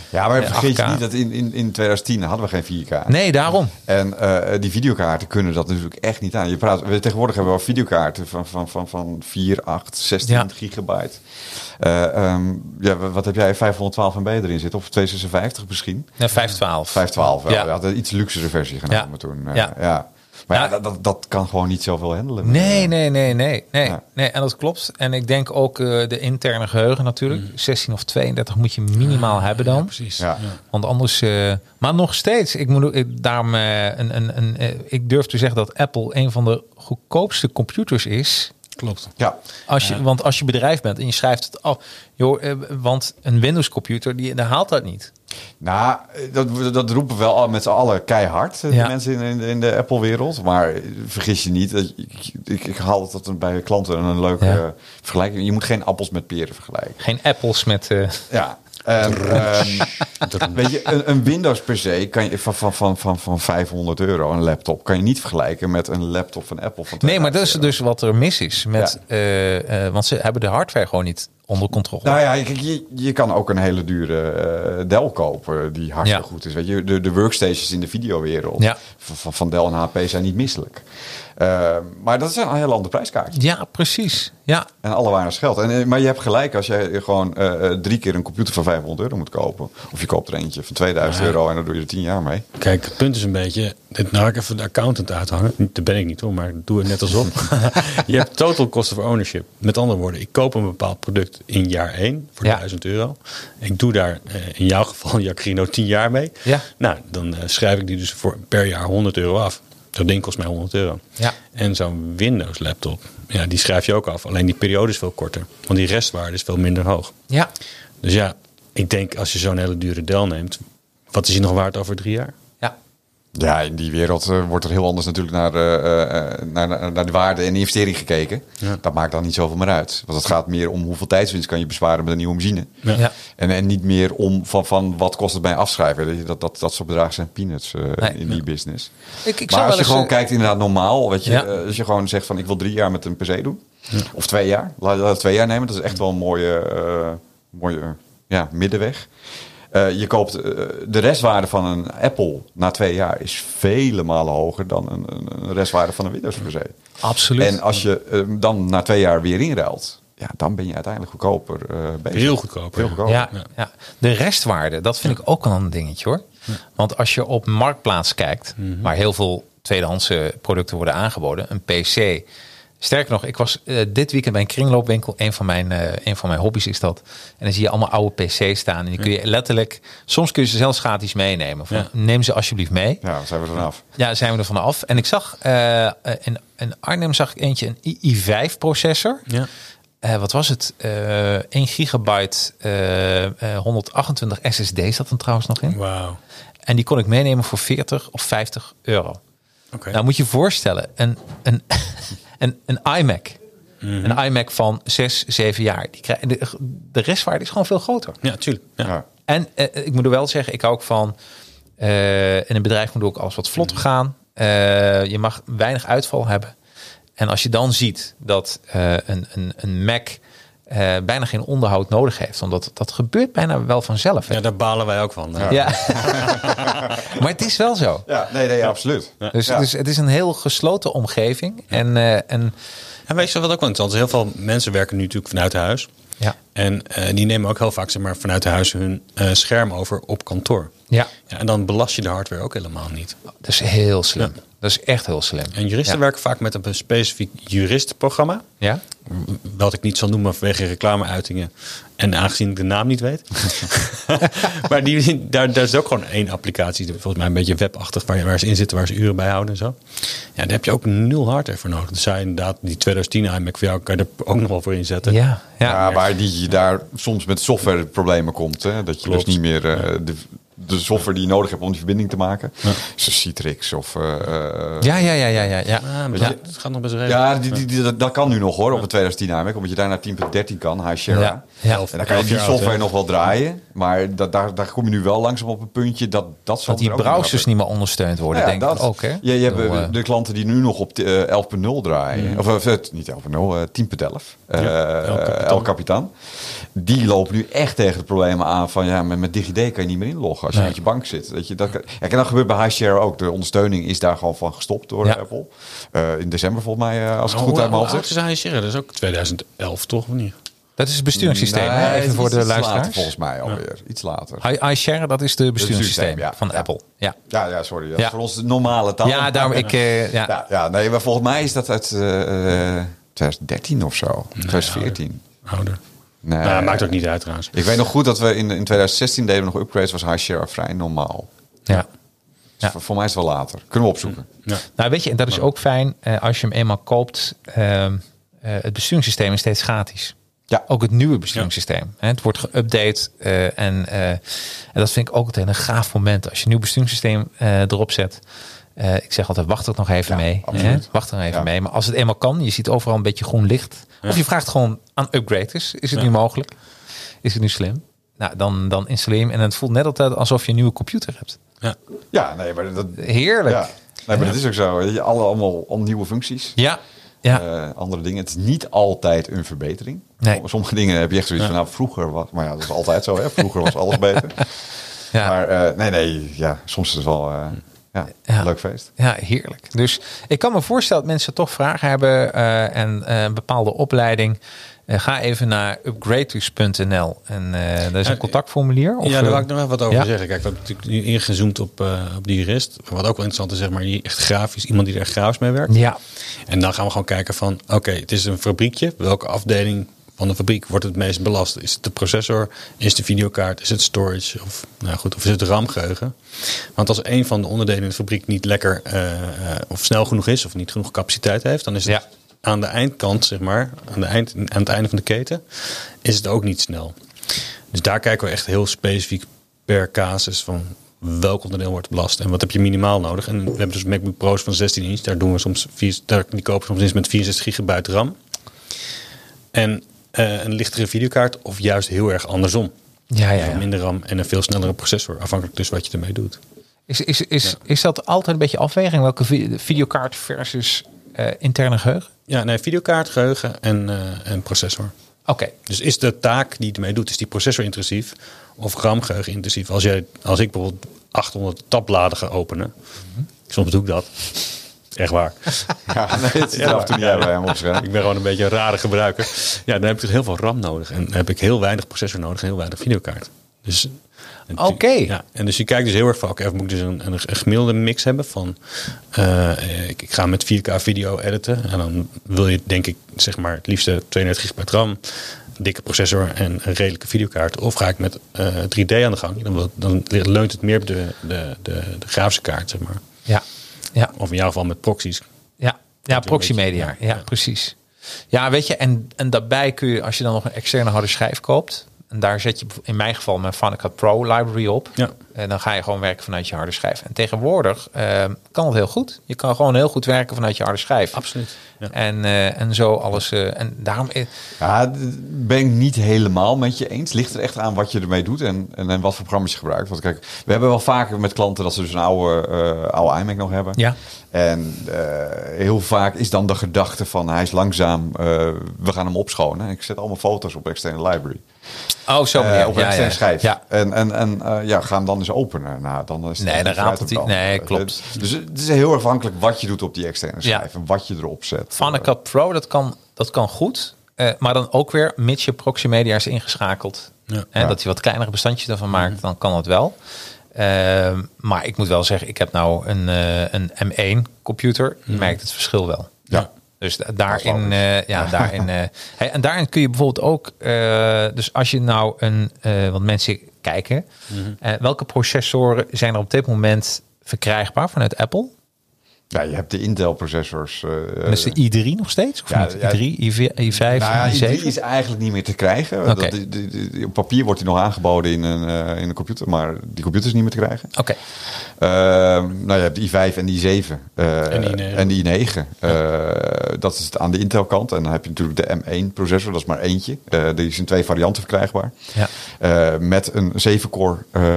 Ja, maar
eh,
vergeet je
8K.
niet dat in, in, in 2010 hadden we geen 4K.
Nee, daarom.
En eh, die videokaarten kunnen dat natuurlijk echt niet aan. Je praat, we, tegenwoordig hebben we wel videokaarten van, van, van, van 4, 8, 16
Ja.
gigabyte. Eh, ehm, ja, wa- wat heb jij? 512 MB erin zitten? Of 256 misschien?
Nee, 512.
512 wel.
Ja.
We hadden een iets luxere versie genomen
Ja.
toen. eh,
Ja.
ja. Maar ja,
Ja.
dat, dat, dat kan gewoon niet zoveel handelen.
Nee, nee, nee, nee, nee,
Ja.
nee. En dat klopt. En ik denk ook eh, de interne geheugen natuurlijk. 16 of 32 moet je minimaal hebben dan.
Precies.
Mhm. Ah, Ja.
Want anders. eh, maar nog steeds. Ik moet ook- ik, daarom. eh, een, een, een, eh, ik durf te zeggen dat Apple een van de goedkoopste computers is.
Klopt.
Ja,
Als je, Want als je bedrijf bent en je schrijft het af. Joh, eh, want een Windows-computer die, die haalt dat niet.
Nou, dat, dat roepen we wel al met z'n allen keihard, eh,
Ja.
de mensen in, in, in de Apple-wereld. Maar eh, vergis je niet, dat- ik, ik, ik haal dat een- bij klanten een leuke
Ja.
eh, vergelijking. Je moet geen appels met peren vergelijken.
Geen apples met. eh,
Ja. En, ehm, weet je, een, een Windows per se kan je van, van, van, van, van 500 euro, een laptop, kan je niet vergelijken met een laptop van Apple. Van
nee, maar dat is
2000 euro.
dus wat er mis is. Met, eh, eh, want ze hebben de hardware gewoon niet onder controle.
Nou ja, kijk, je, je kan ook een hele dure eh, Dell kopen die hartstikke
Ja.
goed is. Weet je, de, de workstations in de videowereld
Ja.
van, van, van Dell en HP zijn niet misselijk. Eh, maar dat is een heel ander prijskaartje.
Ja, precies. Ja,
En alle waardes geld. En, eh, maar je hebt gelijk als jij gewoon eh, eh, drie keer een computer van 500 euro moet kopen. Of je koopt er eentje van 2000 euro en dan doe je er 10 jaar mee.
Kijk, het punt is een beetje, dit nou ik even de accountant uithangen. Dat ben ik niet hoor, maar ik doe het
<laughs>
net alsof. je hebt total cost of ownership. Met andere woorden, ik koop een bepaald product in jaar 1 voor
Ja.
1000 euro. Ik doe daar eh, in jouw geval, <laughs> Jacrino, 10 jaar mee.
Ja.
Nou, dan eh, schrijf ik die dus voor per jaar 100 euro af. Dat ding kost mij 100 euro.
Ja.
En zo'n Windows laptop, ja, die schrijf je ook af. Alleen die periode is veel korter, want die restwaarde is veel minder hoog.
ja.
Dus ja, ik denk als je zo'n hele dure Dell neemt, wat is die nog waard over drie jaar?
ja.
Ja, in die wereld eh, wordt er heel anders natuurlijk naar, eh, eh, naar, naar, naar de waarde en de investering gekeken. Dat maakt dan niet zoveel meer uit. Want het gaat meer om hoeveel tijdswinst kan je besparen met een nieuwe machine.
Ja.
Ja.
En, en niet meer om van, van wat kost het bij afschrijven. Weet je, Dat, dat, dat soort bedragen zijn peanuts eh,
Nee.
in die business.
Ik- ik zou
maar
wel
als je
eens,
gewoon
eh,
kijkt inderdaad normaal. Weet je,
Ja.
eh, als je gewoon zegt van ik wil drie jaar met een PC doen. Of twee jaar. Laat, laat het twee jaar nemen. Dat is echt wel een mooie, eh, mooie eh, ja, middenweg. Eh, je koopt eh, de restwaarde van een Apple na twee jaar is vele malen hoger dan een, een- een restwaarde van een Windows per se.
Absoluut.
En als je eh, dan na twee jaar weer inruilt, ja, dan ben je uiteindelijk goedkoper eh, bezig.
Heel goedkoper.
Heel
ja.
goedkoper.
Ja, ja. De restwaarde, dat vind ik ook wel een dingetje hoor. Want als je op marktplaats kijkt, waar heel veel tweedehands eh, producten worden aangeboden, een PC. Sterker nog, ik was eh, dit weekend bij een kringloopwinkel. Een van, mijn, eh, een van mijn hobby's is dat. En dan zie je allemaal oude PC's staan. En die kun je letterlijk, soms kun je ze zelfs gratis meenemen. Van,
Ja.
Neem ze alsjeblieft mee.
Ja, dan zijn we er vanaf.
Ja, zijn we er vanaf. En ik zag eh, in, in Arnhem zag ik eentje, een i5-processor.
Ja.
Eh, wat was het? Eh 1 gigabyte, eh, eh, 128 SSD zat er trouwens nog in.
Wauw.
En die kon ik meenemen voor 40 of 50 euro.
Oké.
Nou moet je je voorstellen, een, een, <laughs> een, een iMac.
Mhm.
Een iMac van 6, 7 jaar. Die krijg, de, de restwaarde is gewoon veel groter.
Ja, tuurlijk. Ja.
Ja.
En eh, ik moet er wel zeggen, ik hou ook van. eh, in een bedrijf moet ook alles wat vlot
Mm-hmm.
gaan. Eh, je mag weinig uitval hebben. En als je dan ziet dat eh, een, een, een Mac eh, eh, bijna geen onderhoud nodig heeft. Omdat dat gebeurt bijna wel vanzelf. hè?
Ja, daar balen wij ook van. Ja.
Ja. <laughs> maar het is wel zo.
Ja, nee, nee, absoluut.
Dus,
Ja.
dus het is een heel gesloten omgeving. En, eh, en
En weet je wat ook wel interessant is? Heel veel mensen werken nu natuurlijk vanuit huis.
ja.
En eh, die nemen ook heel vaak zeg maar, vanuit huis hun eh, scherm over op kantoor.
Ja.
En dan belast je de hardware ook helemaal niet.
dat is heel slim. Dat is echt heel slim.
En juristen
Ja.
werken vaak met een specifiek juristenprogramma.
Ja?
Wat ik niet zal noemen vanwege reclameuitingen. En aangezien ik de naam niet
<laughs>
weet. maar die, daar, daar is ook gewoon één applicatie. Volgens mij een beetje webachtig. Waar, je- waar ze in zitten, waar ze uren bij houden en zo. Ja, daar heb je ook nul hardware voor nodig. Dus zij inderdaad, die 2010 iMac voor jou kan je er ook nog wel voor inzetten.
Ja. ja.
Ja, waar die je daar soms met softwareproblemen komt. Hè? Dat je
Klopt.
dus niet meer eh, de, de software die je nodig hebt om die verbinding te maken. Zoals Citrix of... eh, eh,
ja, ja, ja, ja, ja, ja.
Ah, maar
Ja.
dat- dat gaat nog best redelijk.
Ja, die, die, die- dat, dat kan nu nog hoor, op een 2010 iMac. Omdat je daar naar 10.13 kan, Hashera.
Ja. Ja.
En dan kan je die
Elf jaar oud,
software
hè?
nog wel draaien. Maar dat, daar, daar kom je nu wel langzaam op een puntje. Dat, dat zal
Dat die
er ook nog
browsers
wel-
niet meer ondersteund worden,
Ja,
denk
dat.
ik ook. Hè?
Ja, je
Ik
hebt
bedoel,
eh,
eh, Mhm.
de klanten die nu nog op eh, 11.0 draaien. Of eh, het- niet 11.0 eh, 10.11. Eh
El Capitan.
El Capitan. Die lopen nu echt tegen de problemen aan van... ja, met, met DigiD kan je niet meer inloggen als je uit je bank zit. Dat je, dat, kan- ja, en dat gebeurt bij HighShare ook. De ondersteuning is daar gewoon van gestopt door
Ja. Oh,
Apple. Eh, in december volgens mij, eh, als ik het goed
Hoe-
uit mijn
hoe
hoofd
oud
heb.
is hij, Sierra? Dat is ook 2011, toch? Of niet?
dat is het besturingssysteem,
Nee,
hè?
het
even
is
voor de
iets Later,
luisteraars.
volgens mij alweer. Iets later.
I- iShare, dat is de
besturingssysteem,
besturingssysteem
ja.
van
Ja.
Apple. Ja,
Ja, ja, sorry. Dat
Ja.
is voor ons de normale taal.
ja daarom ik... eh, ja.
Ja, ja, nee, maar volgens mij is dat uit eh, eh, 2013 of zo. 2014.
Ouder.
Nee.
Nou, maakt ook niet uit trouwens.
Eh, Ik weet nog goed dat we in, in 2016 deden we nog upgrades. Was HighShare vrij normaal.
ja.
Dus
Ja.
voor, voor mij is het wel later. Kunnen we opzoeken.
Ja.
Nou, weet je, en dat is ook fijn eh, als je hem eenmaal koopt. ehm, eh, het besturingssysteem is steeds gratis.
Ja.
Ook het nieuwe besturingssysteem. Hè, Het wordt geüpdate. eh, en, eh, en dat vind ik ook altijd een gaaf moment. Als je een nieuw besturingssysteem eh, erop zet. Eh, ik zeg altijd, wacht er nog even mee. Hè?
absoluut.
Wacht er even
Ja.
mee. Maar als het eenmaal kan, je ziet overal een beetje groen licht. Of je vraagt gewoon aan upgraders. Is het nu mogelijk? Is het nu slim? Nou, dan, dan installeer je hem. En het voelt net altijd alsof je een nieuwe computer hebt.
Ja.
Ja, nee, maar dat,
Heerlijk.
ja. Nee, maar dat is ook zo. Je- Alle, allemaal al nieuwe functies.
Ja. ja.
eh, andere dingen. Het is niet altijd een verbetering.
Nee.
Som- Sommige dingen heb je echt zoiets van, nou, vroeger was... Maar ja, dat is altijd zo, hè. Vroeger was alles beter.
<laughs> Ja.
Maar eh, nee, nee, ja, soms is het wel eh, ja,
Ja.
een leuk feest.
Ja, heerlijk. Dus ik kan me voorstellen dat mensen toch vragen hebben eh, en eh, een bepaalde opleiding. Eh, ga even naar upgradeus.nl en eh, daar is een contactformulier. Of,
ja, daar wil ik
eh,
nog even wat over
ja.
zeggen. Kijk, we hebben natuurlijk nu ingezoomd op, eh, op die jurist. Wat ook wel interessant is, zeg maar, die echt grafisch, iemand die er echt grafisch mee werkt.
Ja,
En dan gaan we gewoon kijken van, oké, het is een fabriekje. Welke afdeling van de fabriek wordt het meest belast? Is het de processor? Is het de videokaart? Is het storage? Of, nou goed, of is het RAM-geheugen? Want als een van de onderdelen in de fabriek niet lekker eh, eh, of snel genoeg is... of niet genoeg capaciteit heeft, dan is het
Ja.
aan de eindkant, zeg maar... Aan, de eind, aan het einde van de keten, is het ook niet snel. Dus daar kijken we echt heel specifiek per casus van... Welk onderdeel wordt belast en wat heb je minimaal nodig? En we hebben dus MacBook Pro's van 16 inch. Daar doen we soms vier, daar, die kopen we soms eens met 64 gigabyte RAM. En eh, een lichtere videokaart of juist heel erg andersom.
ja, Ah, ja.
Dus
ja.
Minder RAM en een veel snellere processor. Afhankelijk dus wat je ermee doet.
Is, is, is, is dat altijd een beetje afweging? Welke vi- videokaart versus eh, interne geheugen?
Ja, nee, videokaart, geheugen en, eh, en processor.
Oké,
Dus is de taak die je ermee doet, is die processor intensief of RAM geheugen intensief? Als, jij, als ik bijvoorbeeld 800 tabbladen ga openen, soms doe ik dat. Echt waar.
Ja, <laughs> nee, het ziet er af en toe niet uit bij hem op scherm.
Ik ben gewoon een beetje een rare gebruiker. Ja, dan heb ik dus heel veel RAM nodig. En dan heb ik heel weinig processor nodig en heel weinig videokaart. Dus, en-
Oké.
Ja, en dus je kijkt dus heel erg van, oké, of moet ik dus een, een, een gemiddelde mix hebben van... eh, ik, ik ga met 4K video editen. En dan wil je denk ik, zeg maar, het liefste 32 GB RAM... dikke processor en een redelijke videokaart. Of ga ik met eh, 3D aan de gang. Dan, wil- dan leunt het meer op de, de, de, de grafische kaart, zeg maar.
ja. ja.
Of in jouw geval met proxies.
Ja, ja
een
proxymedia.
beetje,
ja, precies. Ja, weet je, en, en daarbij kun je, als je dan nog een externe harde schijf koopt, En daar zet je in mijn geval mijn Fanica Pro library op.
Ja.
En dan ga je gewoon werken vanuit je harde schijf. En tegenwoordig eh, kan het heel goed. Je kan gewoon heel goed werken vanuit je harde schijf.
Absoluut, ja.
En, eh, en zo alles. eh, en daarom. eh,
Ja, d- ben ik niet helemaal met je eens. Ligt er echt aan wat je ermee doet en, en, en wat voor programma's je gebruikt. Want kijk, we hebben wel vaker met klanten dat ze dus een oude, eh, oude iMac nog hebben.
Ja.
En eh, heel vaak is dan de gedachte van hij is langzaam, eh, we gaan hem opschonen. Ik zet allemaal foto's op externe library.
oh, zo
Eh,
meneer.
op een externe schijf.
Ja.
En, en, en eh, ja, ga hem dan eens openen. Nou, dan is het
Nee,
echt
dan
niet
raapt het
uit
niet.
elkaar.
Nee, klopt.
Dus het is heel afhankelijk wat je doet op die externe
Ja.
schijf en wat je erop zet. Eh,
Fanica Pro, dat kan, dat kan goed. Eh, maar dan ook weer, mits je proxy media is ingeschakeld.
Ja.
Hè, Dat hij wat kleinere bestandjes ervan maakt, dan kan dat wel. Ehm, maar ik moet wel zeggen, ik heb nou een, eh, een M1 computer. Je merkt het verschil wel.
Ja.
Dus da- daarin, eh, ja, daarin, eh, <laughs> hey, en daarin kun je bijvoorbeeld ook, eh, dus als je nou een, eh, want mensen kijken, eh, welke processoren zijn er op dit moment verkrijgbaar vanuit Apple?
Ja, je hebt de Intel-processors. eh,
En is de i3 nog steeds? Of
Ja,
niet?
ja.
i3, i5, i5
Nou ja,
i7?
die is eigenlijk niet meer te krijgen.
Oké.
Dat, die- die- die- op papier wordt hij nog aangeboden in een, eh, in een computer, maar die computer is niet meer te krijgen.
Oh.
Oké,
Ehm, nou, je hebt die i5 en die i7. eh,
En die i9.
en die i9. Eh, dat is het aan de Intel kant. En dan heb je natuurlijk de M1 processor, dat is maar eentje. Eh, die is in twee varianten verkrijgbaar.
Ja.
Eh, met een 7-core eh,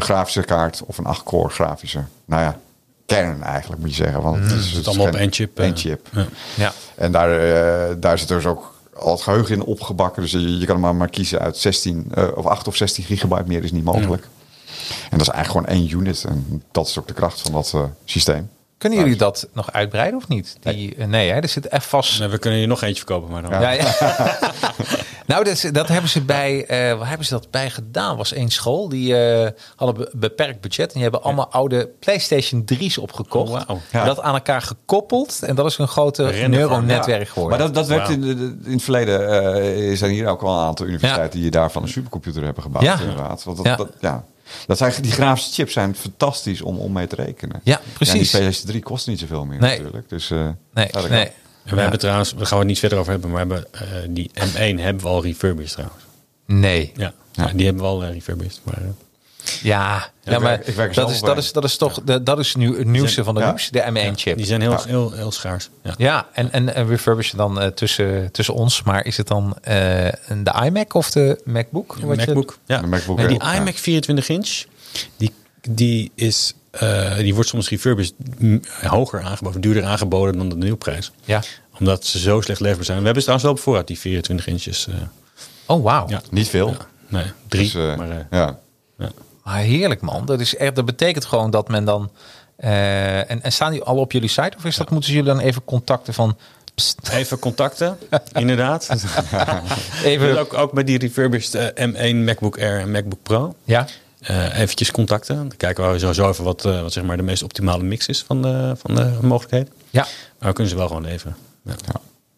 grafische kaart of een 8-core grafische. Nou ja, kern eigenlijk moet je zeggen. Want het is,
Mm.
dus
allemaal op
geen-
één chip, eh,
één chip.
ja.
ja.
En daar, eh, daar zit dus ook al het geheugen in opgebakken. Dus je, je kan hem maar, maar kiezen uit 16 eh, of 8 of 16 gigabyte meer is niet mogelijk. En dat is eigenlijk gewoon één unit. En dat is ook de kracht van dat eh, systeem.
Kunnen jullie dat nog uitbreiden of niet? Die, eh, nee, hè, er zit echt vast.
Nee, Nou, we kunnen hier nog eentje verkopen, maar dan...
Ja, <laughs>
<laughs>
ja. nou, dat, is- dat hebben ze bij, eh waar hebben ze dat bij gedaan? Was één school, die eh, hadden be- beperkt budget en die hebben allemaal oude PlayStation 3's opgekocht.
Oh, wauw.
Ja.
Dat aan elkaar gekoppeld en dat is een grote
Renner-
neuronetwerk geworden.
Maar dat, dat werkt
Wauw.
in, de- in het verleden. eh, zijn hier ook wel een aantal universiteiten die daarvan een supercomputer hebben gebouwd.
Ja.
Inderdaad. Want dat,
Ja.
Dat, ja. Dat zijn, die grafische chips zijn fantastisch om, om mee te rekenen.
Ja,
en
precies.
die PlayStation 3 kost niet zoveel meer
Nee.
natuurlijk. Dus, eh,
nee,
ja, dat
nee.
kan.
En we hebben trouwens, we gaan het niet verder over hebben, maar we hebben, eh, die M1 hebben we al refurbished trouwens.
nee.
Ja, ja, die hebben we al eh, refurbished. Maar, eh,
Ja, ja,
ik
maar
werk- ik werk
dat,
er zelf
is,
op
dat,
bij.
is, dat is toch de- dat is nu het nieuwste van de
ja.
nieuwste, de M1-chip.
die zijn heel, heel, heel schaars. Ja.
Ja, en, en, en refurbishen dan eh, tussen, tussen ons. Maar is het dan eh, een- de iMac of de MacBook?
Een
Wat je-
MacBook. Ja.
Een MacBook,
Nee, die
ja.
iMac 24 inch, die, die, is, eh, die wordt soms refurbished m, hoger aangeboden, duurder aangeboden dan de nieuwprijs.
Ja.
Omdat ze zo slecht leverbaar zijn. We hebben ze trouwens wel op voorraad, die 24 inches. eh,
Oh, wauw.
ja.
Niet veel.
Nee, drie.
Dus, eh,
maar, eh,
ja.
Maar Ah, heerlijk, man. Dat, is echt, dat betekent gewoon dat men dan... eh, en, en staan die al op jullie site? Of is dat, moeten ze jullie dan even contacten van... pst,
Even
<laughs>
contacten, inderdaad. <laughs> Dus
even,
ook, ook met die refurbished eh, M1 MacBook Air en MacBook Pro.
ja?
Eh, eventjes contacten. Dan kijken we sowieso even wat, eh, wat zeg maar de meest optimale mix is van de, van de mogelijkheden.
Ja.
Maar we kunnen ze wel gewoon even. Ja.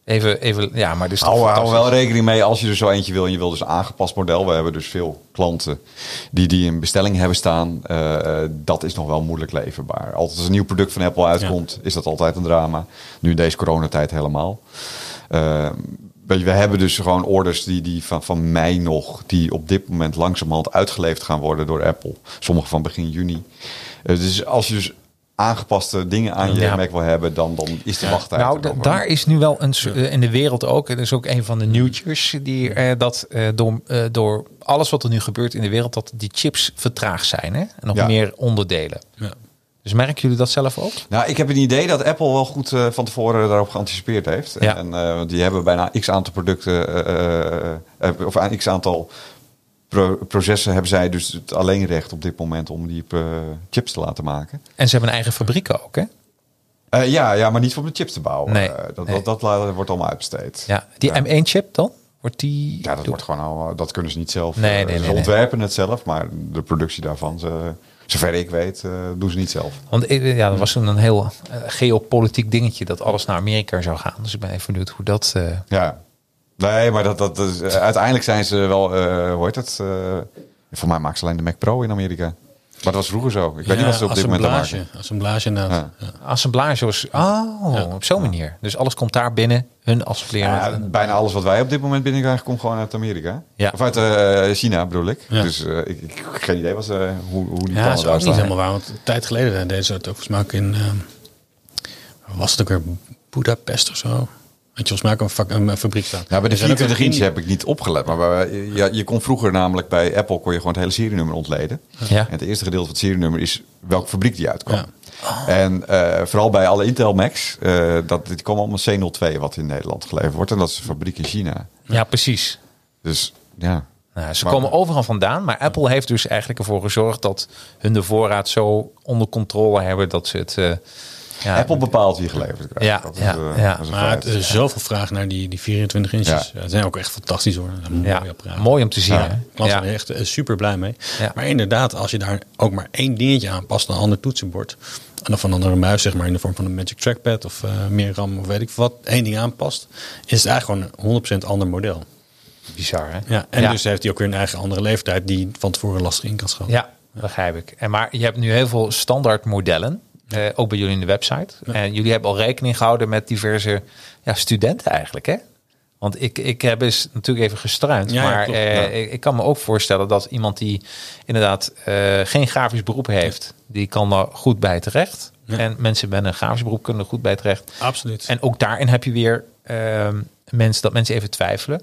Even, even, ja, maar dus
Hou, hou wel rekening mee als je er zo eentje wil en je wil dus een aangepast model. We hebben dus veel klanten die, die een bestelling hebben staan. Eh, dat is nog wel moeilijk leverbaar. Altijd als een nieuw product van Apple uitkomt, is dat altijd een drama. Nu in deze coronatijd helemaal. Eh, weet je, we hebben dus gewoon orders die, die van, van mei nog, die op dit moment langzamerhand uitgeleverd gaan worden door Apple. Sommige van begin juni. Eh, dus als je dus aangepaste dingen aan je
Ja.
Mac wil hebben, dan, dan is de wachttijd.
Nou,
er
da-
nog wel.
daar is nu wel een, soort- eh, in de wereld ook, er is ook een van de nieuwtjes, die eh, dat eh, door, eh, door alles wat er nu gebeurt in de wereld, dat die chips vertraagd zijn hè? en nog
Ja.
meer onderdelen. Dus merken jullie dat zelf ook?
Nou, ik heb het idee dat Apple wel goed eh, van tevoren daarop geanticipeerd heeft.
Ja.
En eh, want die hebben bijna x aantal producten, eh, eh, of aan x aantal pro- processen hebben zij dus het alleenrecht op dit moment om die eh, chips te laten maken.
En ze hebben een eigen fabrieken ook, hè?
Eh, ja, ja, maar niet om de chips te bouwen.
Nee,
Eh, dat,
nee.
dat, dat la- wordt allemaal uitbesteed.
Ja. Die
Ja.
M1-chip dan? Wordt die...
Ja, dat, wordt gewoon al, dat kunnen ze niet zelf.
Nee,
eh,
nee, nee,
ze
nee.
ontwerpen het zelf, maar de productie daarvan, ze, zover ik weet, eh, doen ze niet zelf.
Want eh, ja, dat was toen een heel eh, geopolitiek dingetje dat alles naar Amerika zou gaan. Dus ik ben even benieuwd hoe dat... eh,
Ja. Nee, maar dat, dat, is- eh, uiteindelijk zijn ze wel, eh hoe heet dat? eh voor mij maken ze alleen de Mac Pro in Amerika. Maar dat was vroeger zo. Ik weet niet wat ze op dit moment aan
assemblage.
maken.
Assemblage inderdaad. Ja.
Assemblage was... Oh, op zo'n manier. Dus alles komt daar binnen. Hun assembleren.
Ja, bijna alles wat wij op dit moment binnenkrijgen komt gewoon uit Amerika.
Ja.
Of uit eh, China bedoel ik.
Ja.
Dus eh, ik, ik heb geen idee wat ze, hoe, hoe die
Ja,
plannen
dat is
daar
ook niet
staan.
helemaal waar. Want een tijd geleden eh, deden ze het ook volgens mij ook in... ehm, was het ook weer Budapest of zo? Had je volgens mij ook een, vak- een, een fabriek staan.
Nou, bij de
Er zijn ook
24
in-
inch heb ik niet opgelet. Maar bij- ja, je kon vroeger namelijk bij Apple kon je gewoon het hele serienummer ontleden.
Ja.
En het eerste gedeelte van het serienummer is welke fabriek die uitkwam.
Ja.
En eh, vooral bij alle Intel Macs, eh, dat, die kwam allemaal C02 wat in Nederland geleverd wordt. En dat is een fabriek in China.
ja, precies.
Dus ja.
Nou, ze
Maar-
komen overal vandaan, maar Apple heeft dus eigenlijk ervoor gezorgd dat hun de voorraad zo onder controle hebben dat ze het. eh, ja,
Apple bepaalt wie geleverd krijgt.
Ja,
dat
ja,
eh,
ja.
dat is een
Maar
feit.
het is zoveel vraag naar die, die 24 inches.
Ja.
Ja. Ze zijn ook echt fantastisch hoor. Dat is een
ja,
mooi apparaat.
mooi om te zien.
Ja,
hè?
klanten
Ja.
zijn er echt eh, super blij mee.
Ja.
Maar inderdaad, als je daar ook maar één dingetje aan past, een ander toetsenbord. En of een andere muis, zeg maar, in de vorm van een Magic Trackpad of eh, meer RAM of weet ik wat, één ding aanpast, is het eigenlijk gewoon een 100% ander model.
Bizar, hè?
Ja, en dus heeft hij ook weer een eigen andere leeftijd die van tevoren lastig in kan schatten.
Ja, begrijp ik. En maar je hebt nu heel veel standaard modellen, eh, ook bij jullie in de website. En jullie hebben al rekening gehouden met diverse ja, studenten eigenlijk, hè? Want ik, ik heb eens natuurlijk even gestruind.
Ja, ja,
maar
klopt,
eh,
ja.
ik, ik kan me ook voorstellen dat iemand die inderdaad eh, geen grafisch beroep heeft, die kan daar goed bij terecht.
Ja.
En mensen met een grafisch beroep kunnen er goed bij terecht.
Absoluut.
En ook daarin heb je weer ehm, mensen, dat mensen even twijfelen.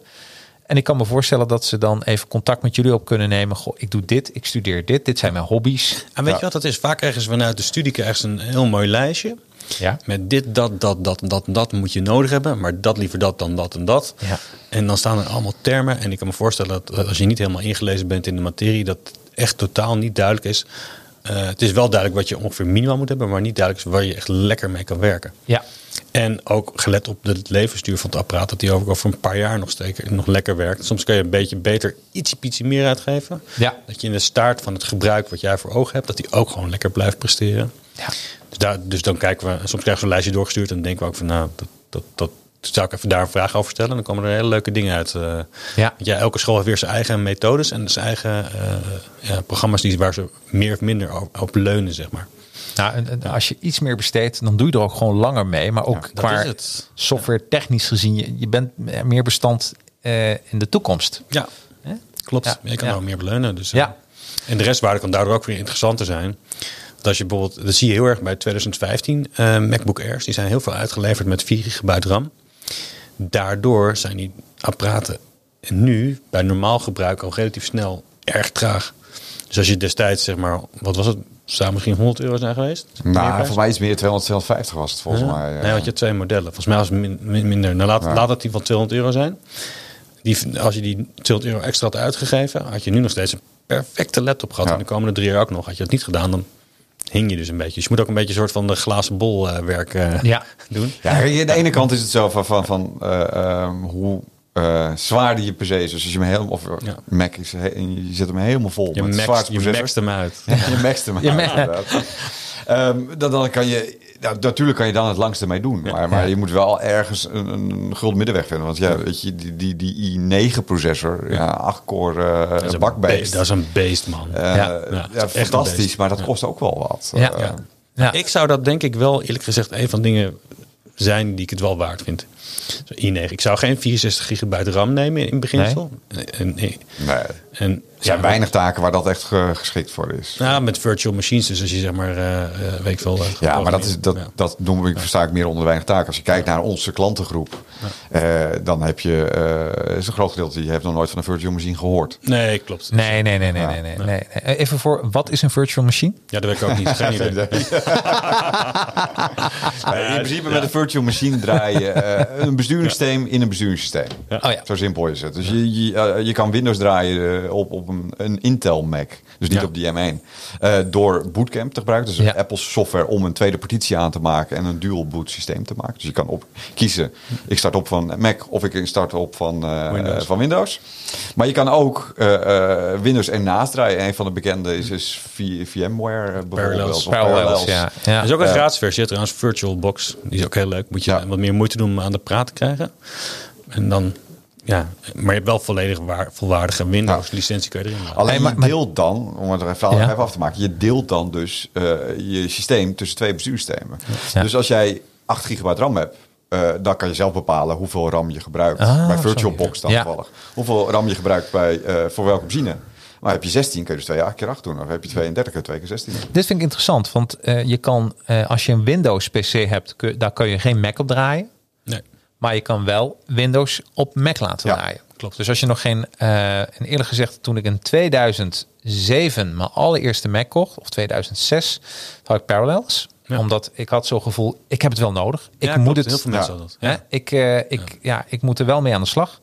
En ik kan me voorstellen dat ze dan even contact met jullie op kunnen nemen. Goh, ik doe dit, ik studeer dit, dit zijn mijn hobby's.
En weet je wat dat is? Vaak krijgen ze vanuit de studie krijgen ze een heel mooi lijstje.
Ja.
Met dit, dat, dat, dat, dat, en dat moet je nodig hebben. Maar dat liever dat dan dat en dat.
Ja.
En dan staan er allemaal termen. En ik kan me voorstellen dat eh, als je niet helemaal ingelezen bent in de materie, dat echt totaal niet duidelijk is. Eh, het is wel duidelijk wat je ongeveer minimaal moet hebben, maar niet duidelijk is waar je echt lekker mee kan werken.
Ja,
En ook gelet op het levensduur van het apparaat, dat die ook over een paar jaar nog, steek, nog lekker werkt. Soms kan je een beetje beter ietsje pietje meer uitgeven.
Ja.
Dat je in de staart van het gebruik wat jij voor ogen hebt, dat die ook gewoon lekker blijft presteren.
Ja.
Dus, daar, dus dan kijken we, soms krijgen we een lijstje doorgestuurd en dan denken we ook van nou, dat, dat, dat zou ik even daar een vraag over stellen. En dan komen er hele leuke dingen uit. eh.
Ja.
Want ja, elke school heeft weer zijn eigen methodes en zijn eigen eh, ja, programma's die, waar ze meer of minder op, op leunen, zeg maar.
nou, en, en als je iets meer besteedt, dan doe je er ook gewoon langer mee. Maar ook
dat
qua
is het.
software technisch gezien, je, je bent meer bestand eh, in de toekomst.
Ja, klopt.
Ja,
Je kan
ja.
nou meer beleunen. Dus,
Ja.
eh, En de restwaarde kan daardoor ook weer interessanter zijn. Want als je bijvoorbeeld, dat zie je heel erg bij 2015, eh, MacBook Airs, die zijn heel veel uitgeleverd met 4 gigabyte RAM. Daardoor zijn die apparaten nu bij normaal gebruik al relatief snel erg traag. Dus als je destijds, zeg maar, wat was het? Zou misschien 100 euro zijn geweest?
Nou,
Meerprijs?
voor mij iets meer 250 was het volgens
Ja.
mij. eh.
Nee, want je had twee modellen. Volgens mij was het min- min- minder. Nou, laat, laat het die van 200 euro zijn. Die, als je die 200 euro extra had uitgegeven, had je nu nog steeds een perfecte laptop gehad.
Ja.
En de komende drie jaar ook nog. Had je dat niet gedaan, dan hing je dus een beetje. Dus je moet ook een beetje een soort van de glazen bol eh, werk eh,
Ja.
<laughs> doen.
Ja, aan de ene kant is het zo van, van, van eh, ehm, hoe eh zwaar die je per se is. Dus als je hem helemaal, of
Ja.
Mac is, he- en je zet hem helemaal vol
Je,
met de
maxt,
zwaarste
je
processor.
maxt hem uit.
<laughs> Je
<laughs>
maxt hem
Je
aan,
ma-
inderdaad. Ehm, dan, dan kan je, nou, natuurlijk kan je dan het langste mee doen. Maar, maar je moet wel ergens een, een gulden middenweg vinden. Want ja, weet je, die, die, die i9-processor, ja, 8-core
Dat is
eh
een
bakbeest.
beest. Dat is een beest, man.
Eh,
Ja.
ja,
Ja, het is echt een
fantastisch,
beest.
maar dat kost ook wel wat.
Ja.
Eh,
Ja.
Ja.
Ja.
Ik zou dat denk ik wel eerlijk gezegd een van de dingen zijn die ik het wel waard vind. Zo, i9. Ik zou geen 64 gigabyte RAM nemen in beginsel. En, en,
Nee. Er
en,
zijn
ja,
weinig taken waar dat echt ge- geschikt voor is.
Ja, met virtual machines. Dus als je zeg maar, eh, eh, weet ik veel. eh,
Ja, maar dat, is, dat,
Ja.
dat noem ik, versta ik meer onder weinig taken. Als je kijkt naar onze klantengroep, eh, dan heb je, eh is een groot gedeelte, die heeft nog nooit van een virtual machine gehoord.
Nee, klopt.
Nee, nee, nee, nee, nee, nee, nee. Even voor, wat is een virtual machine?
Ja, dat weet ik ook niet.
<laughs>
Geen idee. <laughs>
Eh, in principe met een virtual machine draai je eh,
<laughs>
een besturingssysteem in een besturingssysteem.
Oh ja.
Zo simpel is het. Dus je, je, eh, je kan Windows draaien eh, op, op een, een Intel Mac, dus niet
Ja.
op die M1, eh, door Bootcamp te gebruiken. Dus
Ja.
Apple's software om een tweede partitie aan te maken en een dual boot systeem te maken. Dus je kan op kiezen, ik start op van Mac of ik start op van eh,
Windows.
eh, van Windows. Maar je kan ook eh, eh, Windows ernaast draaien. Een van de bekende is, is V- VMware eh, bijvoorbeeld. of Parallels.
ja.
Er
ja.
is ook een gratis versie hè, trouwens, VirtualBox. Die is ook heel leuk. Moet je
Ja.
wat meer moeite doen om aan de praat te krijgen. En dan ja, maar je hebt wel volledig waar, volwaardige Windows-licentie kun je erin laten.
Alleen
maar-
je deelt dan, om het er verhaal
Ja.
nog even af te maken, je deelt dan dus eh, je systeem tussen twee bestuurssystemen.
Ja.
Dus als jij 8 gigabyte RAM hebt, eh, dan kan je zelf bepalen hoeveel RAM je gebruikt.
Ah,
bij
zo,
VirtualBox dan
ja.
toevallig. Hoeveel RAM je gebruikt bij, eh, voor welke machine. Maar heb je 16, kun je dus 2 keer 8 keer 8 doen. Of heb je 32, kun je 2 keer 16 doen.
Dit vind ik interessant, want eh, je kan, eh, als je een Windows-PC hebt, kun- daar kan je geen Mac op draaien.
Nee.
Maar je kan wel Windows op Mac laten
Ja,
draaien.
klopt.
Dus als je nog geen. eh, en eerlijk gezegd, toen ik in 2007 mijn allereerste Mac kocht, of 2006, had ik Parallels.
Ja.
Omdat ik had zo'n gevoel, ik heb het wel nodig. Ik
Ja,
moet
klopt.
het.
Heel veel
ja.
mensen hadden dat.
hè,
Ja.
ik, eh, ik, ja. ik moet er wel mee aan de slag.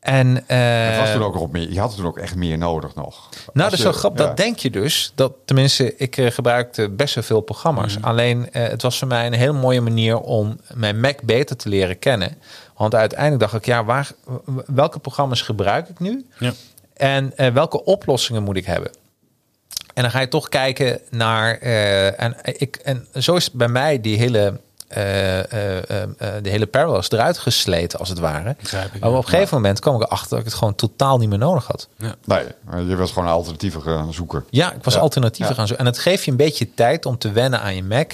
En, eh,
Het was toen ook nog op meer, je had het toen ook echt meer nodig nog.
nou,
Als
dat is
je-
wel grappig.
ja.
Dat denk je dus. Dat, tenminste, ik eh, gebruikte best wel veel
Mm.
programma's. Alleen, eh, het was voor mij een heel mooie manier om mijn Mac beter te leren kennen. Want uiteindelijk dacht ik, ja, waar, w- welke programma's gebruik ik nu?
Ja.
En eh, welke oplossingen moet ik hebben? En dan ga je toch kijken naar. eh, en, ik, en zo is bij mij die hele. eh, eh, eh, eh, de hele parallels eruit gesleten, als het ware.
Begrijp ik,
maar
ja.
op een gegeven moment kwam ik erachter dat ik het gewoon totaal niet meer nodig had.
Nee, maar je was gewoon een alternatieve gaan zoeken.
Ja, ik was
Ja.
alternatieven
Ja.
gaan zoeken. En het geeft je een beetje tijd om te wennen aan je Mac.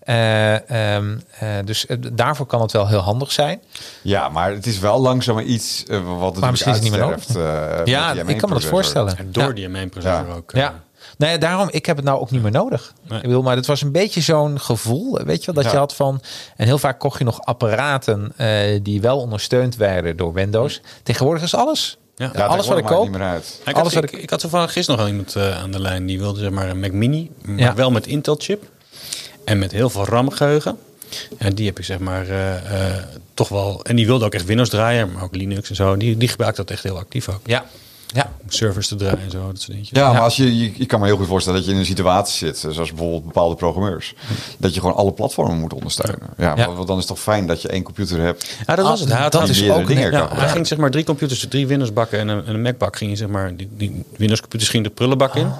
Eh, ehm, eh, dus eh, daarvoor kan het wel heel handig zijn.
Ja, maar het is wel langzamer iets eh, wat natuurlijk
misschien is het niet meer
uitsterft, eh, met
ja,
die
ik kan me dat
M1-processor.
voorstellen.
En
Ja.
door die M1-processor
Ja.
ook. eh,
Ja. Nee, daarom, ik heb het nou ook niet meer nodig. Ik bedoel, maar het was een beetje zo'n gevoel, weet je wel, dat
Ja.
je had van... En heel vaak kocht je nog apparaten eh, die wel ondersteund werden door Windows. Tegenwoordig is alles.
Ja.
Ja,
alles wat ik
tegenwoordig maakt het
koop.
niet meer uit.
Ik
Alles
had,
wat
ik, ik had toevallig gisteren nog iemand eh, aan de lijn die wilde zeg maar een Mac Mini, maar
Ja.
wel met Intel chip en met heel veel RAM geheugen. En die heb ik zeg maar eh, eh, toch wel. En die wilde ook echt Windows draaien, maar ook Linux en zo. Die, die gebruikt dat echt heel actief ook.
Ja, ja.
Om servers te draaien en zo, dat soort dingetjes.
Ja, maar als je, je, ik kan me heel goed voorstellen dat je in een situatie zit, eh, zoals bijvoorbeeld bepaalde programmeurs, dat je gewoon alle platformen moet ondersteunen. Ja,
Ja.
Want, want dan is het toch fijn dat je één computer hebt.
Ja, Ah, dat was het. Hij had
Dat
een-
is
meerdere
ook-
dingen
nee,
kan
Ja, hij
gebruiken.
ging nou, zeg maar drie computers, drie Windows bakken en een, en een Mac bak ging hij, zeg maar die, die Windows computers gingen de prullenbak in.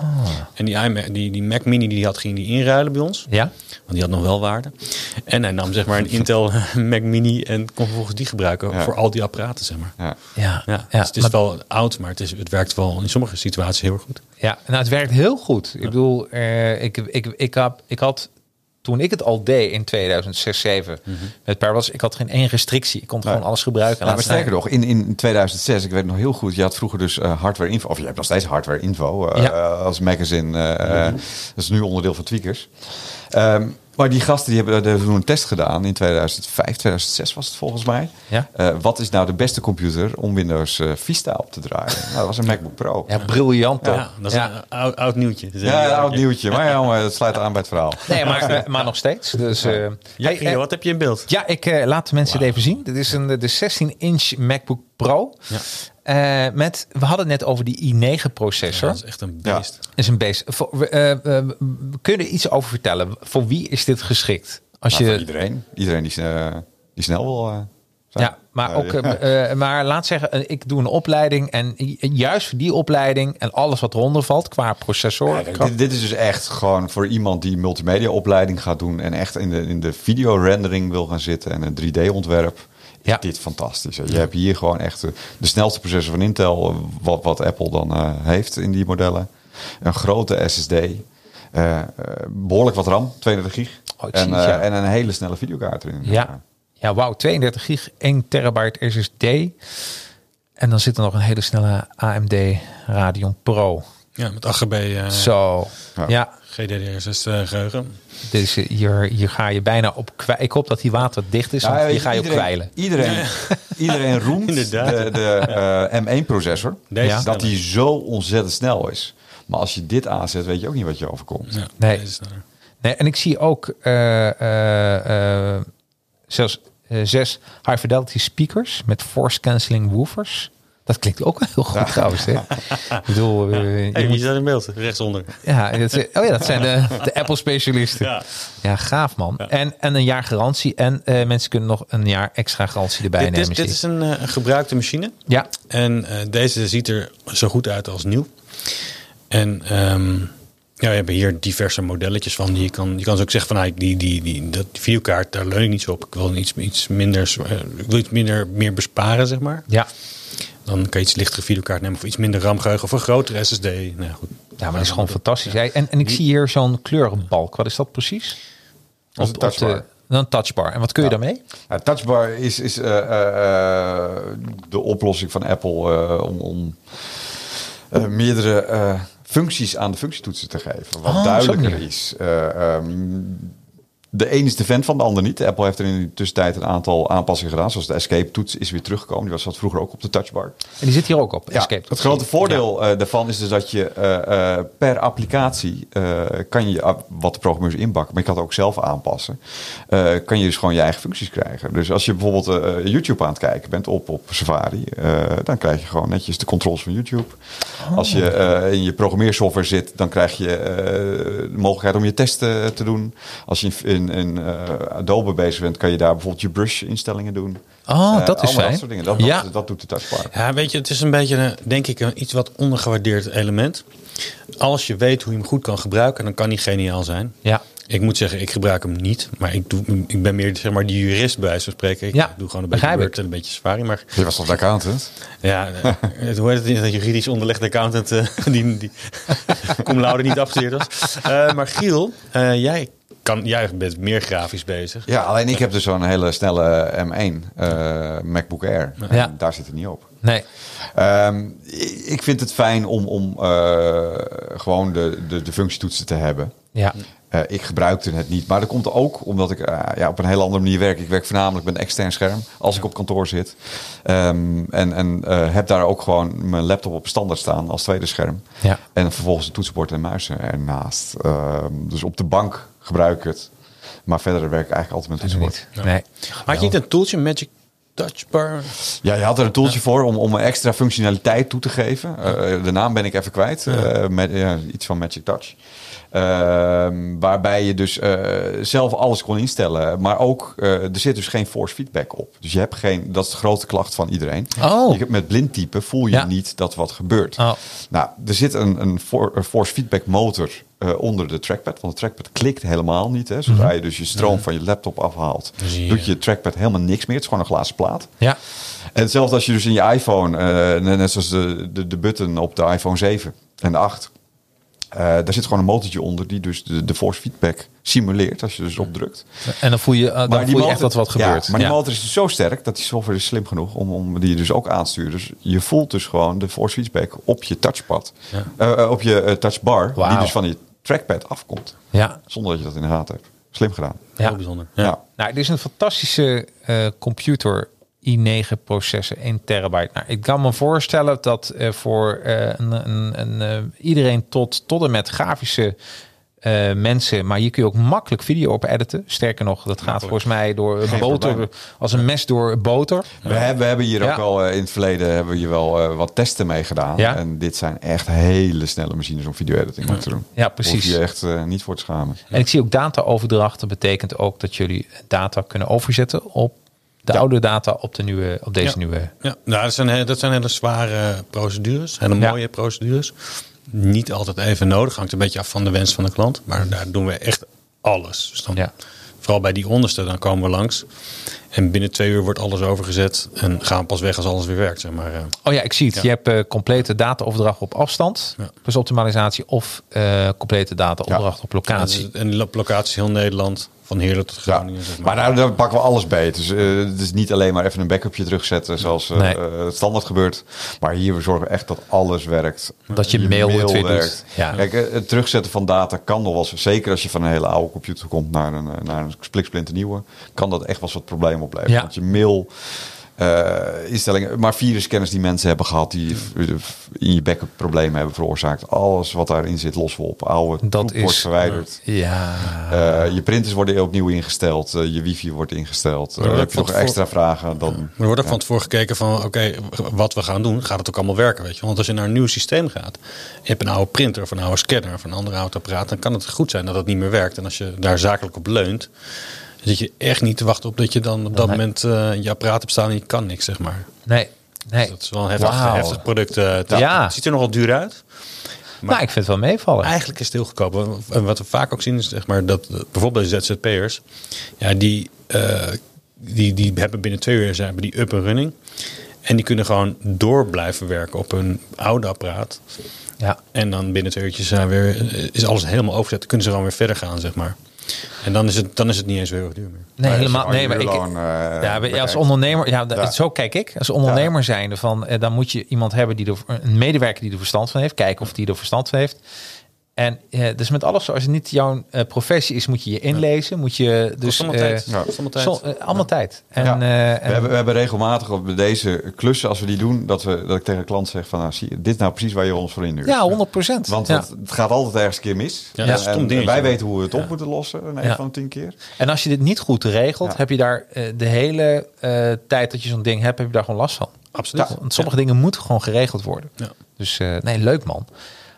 En die, iMac- die, die Mac Mini die hij had ging die inruilen bij ons.
Ja.
Want die had nog wel waarde. En hij nam zeg maar een Intel <laughs> Mac Mini en kon vervolgens die gebruiken
Ja.
voor al die apparaten, zeg maar.
Ja.
Ja,
Ja,
ja,
dus het is
maar-
wel oud, maar het, is, het werkt wel in sommige situaties heel erg goed.
Ja, nou het werkt heel goed. Ik bedoel, eh, ik, ik, ik, had, ik had toen ik het al deed in 2006, 2007 met Parallels, ik had geen één restrictie. Ik kon gewoon alles gebruiken. en
Nou, maar
laten
sterker nog, in, in 2006, ik weet nog heel goed, je had vroeger dus eh, hardware info, of je hebt nog steeds hardware info eh,
Ja.
eh, als magazine. eh, eh, dat is nu onderdeel van Tweakers. Ehm, maar die gasten die hebben, die hebben toen een test gedaan in 2005, 2006 was het volgens mij.
Ja.
Eh, wat is nou de beste computer om Windows eh, Vista op te draaien? <laughs> nou, dat was een MacBook Pro.
staan. Ja, briljant toch?
Ja, dat is
Ja.
een oud, oud nieuwtje.
Ja, een oud nieuwtje. Maar ja, maar het sluit aan bij het verhaal.
Nee, maar, eh, maar nog steeds. Dus, eh,
Ja,
hey,
Guido,
eh,
wat heb je in beeld?
ja, ik eh, laat de mensen het even zien. Dit is een, eh, de 16-inch MacBook Pro. Eh, met, we hadden het net over die i9-processor.
Dat is echt een beest.
Dat is een beest. Voor- we, eh, eh, we kunnen iets over vertellen. Voor wie is dit geschikt? Als
Nou,
je,
voor iedereen. Iedereen die, eh, die snel wil eh, zijn.
Ja, maar,
Eh,
ook,
<laughs> ja.
eh, eh, maar laat zeggen, eh, ik doe een opleiding en ju- juist voor die opleiding en alles wat eronder valt qua processor.
Ja, dit, dit is dus echt gewoon voor iemand die multimedia opleiding gaat doen en echt in de, in de videorendering wil gaan zitten en een 3D-ontwerp.
Ja.
Dit fantastisch. Je hebt hier gewoon echt eh, de snelste processor van Intel, eh, wat, wat Apple dan eh, heeft in die modellen. Een grote SSD. eh, eh, behoorlijk wat RAM, 32 gig.
Oh, ik zie
en,
het,
eh,
ja.
en een hele snelle videokaart erin.
ja, ja wauw, 32 gig, 1 terabyte SSD. En dan zit er nog een hele snelle AMD Radeon Pro.
Ja, met 8GB eh,
Zo, ja.
Ja.
GDDR6 eh, geheugen.
dus eh, hier, hier ga je bijna op kwijlen. Ik hoop dat die waterdicht is, want
Ja,
hier
weet
ga je op
iedereen-
kwijlen.
Iedereen, <laughs> iedereen roemt
Inderdaad.
de, de eh, M1-processor.
Deze is
Dat
sneller.
die zo ontzettend snel is. Maar als je dit aanzet, weet je ook niet wat je overkomt.
Ja,
Nee.
deze is sneller.
Nee, en ik zie ook eh, eh, eh, zelfs eh, zes high fidelity speakers met force cancelling woofers. Dat klinkt ook wel heel goed trouwens. Hè? ik bedoel, eh, je
Hey, wie
moet-
staat in beeld? Rechtsonder.
ja, dat, zijn- oh ja, dat zijn de, de Apple specialisten. Ja.
Ja.
gaaf man. En, en een jaar garantie. En eh, mensen kunnen nog een jaar extra garantie erbij
Dit,
nemen.
is- dit
zie
is
ik.
een eh, gebruikte machine.
Ja,
En eh, deze ziet er zo goed uit als nieuw. En ehm, Ja, we hebben hier diverse modelletjes van. Je kan, je kan dus ook zeggen van nou, ik- die, die, die, dat die videokaart, daar leun ik niet zo op. Ik wil iets, iets minder, zwa- eh, ik wil iets minder meer besparen, zeg maar.
Ja.
Dan kan je iets lichtere videokaart nemen of iets minder RAM-geheugen of een grotere SSD. Nou, ja, goed.
Ja, maar dat is gewoon fantastisch. Hey, En, en ik zie hier zo'n kleurenbalk. Wat is dat precies?
Dat is een touchbar.
een touchbar. En wat kun je daarmee?
Ja, Nou, touchbar is, is eh, eh, eh, de oplossing van Apple eh, om, om eh, meerdere eh, functies aan de functietoetsen te geven. Wat
Oh, op zo'n
duidelijker
manier.
is. Eh, ehm, de een is de vent van de ander niet. Apple heeft er in de tussentijd een aantal aanpassingen gedaan. Zoals de escape-toets is weer teruggekomen. Die was zat vroeger ook op de touchbar.
En die zit hier ook op. Escape.
Het grote voordeel eh, daarvan is dus dat je eh, eh, per applicatie eh, kan je ah, wat de programmeurs inbakken, maar je kan het ook zelf aanpassen. eh, kan je dus gewoon je eigen functies krijgen. Dus als je bijvoorbeeld eh, YouTube aan het kijken bent op, op Safari, eh, dan krijg je gewoon netjes de controls van YouTube. Als je
Oh.
eh, in je programmeersoftware zit, dan krijg je eh, de mogelijkheid om je testen te doen. Als je in, in eh, Adobe bezig bent, kan je daar bijvoorbeeld je brush instellingen doen.
Oh,
Eh,
dat is
allemaal
fijn.
Dat soort dingen. Dat,
Ja.
dat, dat doet de touchbar.
Ja, weet je, het is een beetje, eh, denk ik, een iets wat ondergewaardeerd element. Als je weet hoe je hem goed kan gebruiken, dan kan die geniaal zijn.
Ja.
Ik moet zeggen, ik gebruik hem niet. Maar ik, doe, ik ben meer zeg maar, die jurist bij wijze van spreken. Ik
Ja,
doe gewoon een beetje
begrijp ik.
Word en een beetje Safari. Maar
Je was toch de accountant?
ja, eh, het hoort het dat juridisch onderlegde accountant eh, <laughs> die, die cum laude niet afgestudeerd was. Eh, maar Giel, eh, jij, kan, jij bent meer grafisch bezig.
Ja, alleen ik heb dus zo'n hele snelle M1 eh, MacBook Air.
Ja.
Daar zit het niet op.
Nee.
Ehm, i- ik vind het fijn om, om eh, gewoon de, de, de functietoetsen te hebben.
Ja.
Eh, ik gebruikte het niet, maar dat komt ook omdat ik eh, ja, op een hele andere manier werk. Ik werk voornamelijk met een extern scherm als ik op kantoor zit. Ehm, en en eh, heb daar ook gewoon mijn laptop op standaard staan als tweede scherm.
Ja.
En vervolgens een toetsenbord en muizen ernaast. Ehm, dus op de bank gebruik ik het. Maar verder werk ik eigenlijk altijd met een toetsenbord.
Niet. Nee.
Had je niet een tooltje, Magic Touch Bar?
Ja, je had er een toeltje voor om, om een extra functionaliteit toe te geven. Eh, de naam ben ik even kwijt. Eh, met, ja, iets van Magic Touch. Ehm, waarbij je dus eh, zelf alles kon instellen. Maar ook, eh, er zit dus geen force feedback op. Dus je hebt geen, dat is de grote klacht van iedereen.
Oh.
Je hebt met blind typen voel je
Ja.
niet dat wat gebeurt.
Oh.
Nou, er zit een, een, for- een force feedback motor eh, onder de trackpad. Want de trackpad klikt helemaal niet. Hè. Zodra je dus je stroom van je laptop afhaalt,
zie je.
doet je trackpad helemaal niks meer. Het is gewoon een glazen plaat.
Ja.
En hetzelfde als je dus in je iPhone, eh, net net zoals de, de, de button op de iPhone 7 en de 8. eh, daar zit gewoon een motortje onder die dus de, de force feedback simuleert als je dus opdrukt.
En dan voel je, eh, dan voel je echt dat wat
ja,
gebeurt.
maar die
Ja.
motor is dus zo sterk dat die software is slim genoeg om, om die dus ook aan te sturen. Dus je voelt dus gewoon de force feedback op je touchpad, Eh, eh, op je eh, touchbar, die
Wauw.
dus van je trackpad afkomt.
Ja.
Zonder dat je dat in de gaten hebt. Slim gedaan.
Ja.
Heel bijzonder.
Ja.
Nou, dit is een fantastische eh, computer. i9 processen, 1 terabyte. Nou, ik kan me voorstellen dat eh, voor eh, een, een, een, eh, iedereen tot, tot en met grafische eh, mensen, maar hier kun je ook makkelijk video op editen. Sterker nog, dat gaat volgens mij door eh, boter,
probleem.
als een mes door boter.
We, hebben, we hebben hier
Ja.
ook al eh, in het verleden hebben we hier wel eh, wat testen mee gedaan.
Ja.
En dit zijn echt hele snelle machines om video-editing te doen.
Ja, precies.
Hoef je echt eh, niet voor te schamen.
En ik zie ook dataoverdrachten betekent ook dat jullie data kunnen overzetten op de oude data op, de nieuwe, op deze
Ja.
nieuwe.
Ja, nou, dat, zijn, he- dat zijn hele zware procedures, hele
Ja.
mooie procedures. Niet altijd even nodig, hangt een beetje af van de wens van de klant. Maar daar doen we echt alles. Dus dan,
Ja.
Vooral bij die onderste, dan komen we langs. En binnen twee uur wordt alles overgezet en gaan we pas weg als alles weer werkt. Zeg maar. eh.
Oh ja, ik zie het.
Ja.
Je hebt eh, complete dataopdracht op afstand,
Ja.
plus optimalisatie, of eh, complete dataopdracht op locatie.
En de locatie is heel Nederland, van Heerlen tot
Ja.
Groningen. Zeg maar.
Maar nou, dan pakken we alles beet. Dus eh, het is niet alleen maar even een backupje terugzetten zoals eh,
Nee.
eh, het standaard gebeurt. Maar hier we zorgen echt dat alles werkt.
Dat je mail het weer doet. Ja.
Ja. Kijk, eh, het terugzetten van data kan nog wel eens, zeker als je van een hele oude computer komt naar een, eh, naar een spliksplinter nieuwe, kan dat echt wel eens wat problemen opleveren.
Ja.
Want je mail eh, instellingen, maar virusscanners die mensen hebben gehad die eh, in je backup problemen hebben veroorzaakt. Alles wat daarin zit lossen we op. Oude
Dat
troep wordt
is-
verwijderd.
ja.
Eh, je printers worden opnieuw ingesteld. eh, je wifi wordt ingesteld. Eh,
Maar dat
heb je nog
valt voor-
extra vragen? Dan,
Maar er wordt ook van tevoren gekeken van, oké, wat we gaan doen, gaat het ook allemaal werken, weet je. Want als je naar een nieuw systeem gaat, je hebt een oude printer of een oude scanner of een ander oud apparaat, dan kan het goed zijn dat het niet meer werkt. En als je daar zakelijk op leunt, dan zit je echt niet te wachten op dat je dan op dat moment eh, je apparaat hebt staan en je kan niks, zeg maar. Dus
Nee. Nee.
Dat is wel een heftig,
Wauw.
heftig product. eh, het-
Ja.
Het ziet er nogal duur uit.
nou, ik vind het wel meevallen.
Eigenlijk is het heel goedkoop. Want- En wat we vaak ook zien is zeg maar, dat eh, bijvoorbeeld bij ZZP'ers, ja, die, eh, die, die hebben binnen twee uur zijn hebben die up en running. En die kunnen gewoon door blijven werken op hun oude apparaat.
Ja.
En dan binnen twee uurtjes zijn weer, eh, is alles helemaal overzet. Dan kunnen ze gewoon weer verder gaan, zeg maar. En dan is het, dan is het niet eens weer heel erg duur meer.
Nee,
Maar
helemaal.
als je
Nee, maar ik,
uurloon, eh,
ja, maar ja, als
bekijkt.
ondernemer, ja,
Ja.
zo kijk ik. Als ondernemer zijnde van, eh, dan moet je iemand hebben die er, een medewerker die er verstand van heeft, kijken of die er verstand van heeft. En eh, dus met alles, zo, als het niet jouw eh, professie is, moet je je inlezen, moet je dus
allemaal
eh,
tijd. Ja. Kost allemaal tijd.
zo- eh, allemaal tijd. En,
Ja.
eh, en-
we, hebben, we hebben regelmatig op deze klussen, als we die doen, dat, we, dat ik tegen de klant zeg van, nou, zie je, dit is nou precies waar je ons voor inhuurt.
ja, 100 procent.
Want
ja.
het, het gaat altijd ergens een keer mis.
Ja, dat is een
En-
stom
en
dingetje.
wij weten hoe we het op moeten lossen, een
Ja.
van de tien keer.
En als je dit niet goed regelt,
Ja.
heb je daar eh, de hele eh, tijd dat je zo'n ding hebt, heb je daar gewoon last van.
Absoluut.
Nou, Want sommige dingen moeten gewoon geregeld worden.
Ja.
Dus eh, nee, leuk man.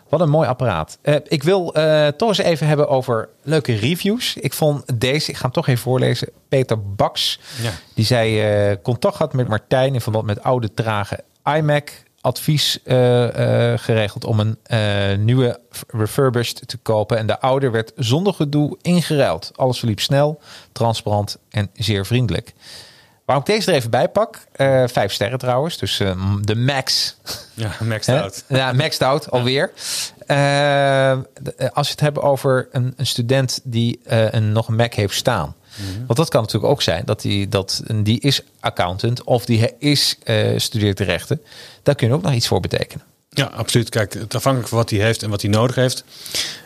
Wat een mooi apparaat. Eh, ik wil eh, toch eens even hebben over leuke reviews. Ik vond deze, ik ga hem toch even voorlezen. Peter Baks,
Ja.
die zei eh, contact had met Martijn in verband met oude trage iMac. Advies eh, eh, geregeld om een eh, nieuwe refurbished te kopen. En de oude werd zonder gedoe ingeruild. Alles verliep snel, transparant en zeer vriendelijk. Waarom ik deze er even bij pak, eh, vijf sterren trouwens, dus eh, de max
Ja, <laughs> maxed
Hè?
out.
Ja, maxed out alweer. Eh, de- eh, als we het hebben over een, een student die eh, een, nog een Mac heeft staan.
Mhm.
Want dat kan natuurlijk ook zijn dat die, dat, die is accountant of die he- is eh studeert rechten. Daar kun je ook nog iets voor betekenen.
Ja, absoluut. Kijk, het afhankelijk van wat hij heeft en wat hij nodig heeft,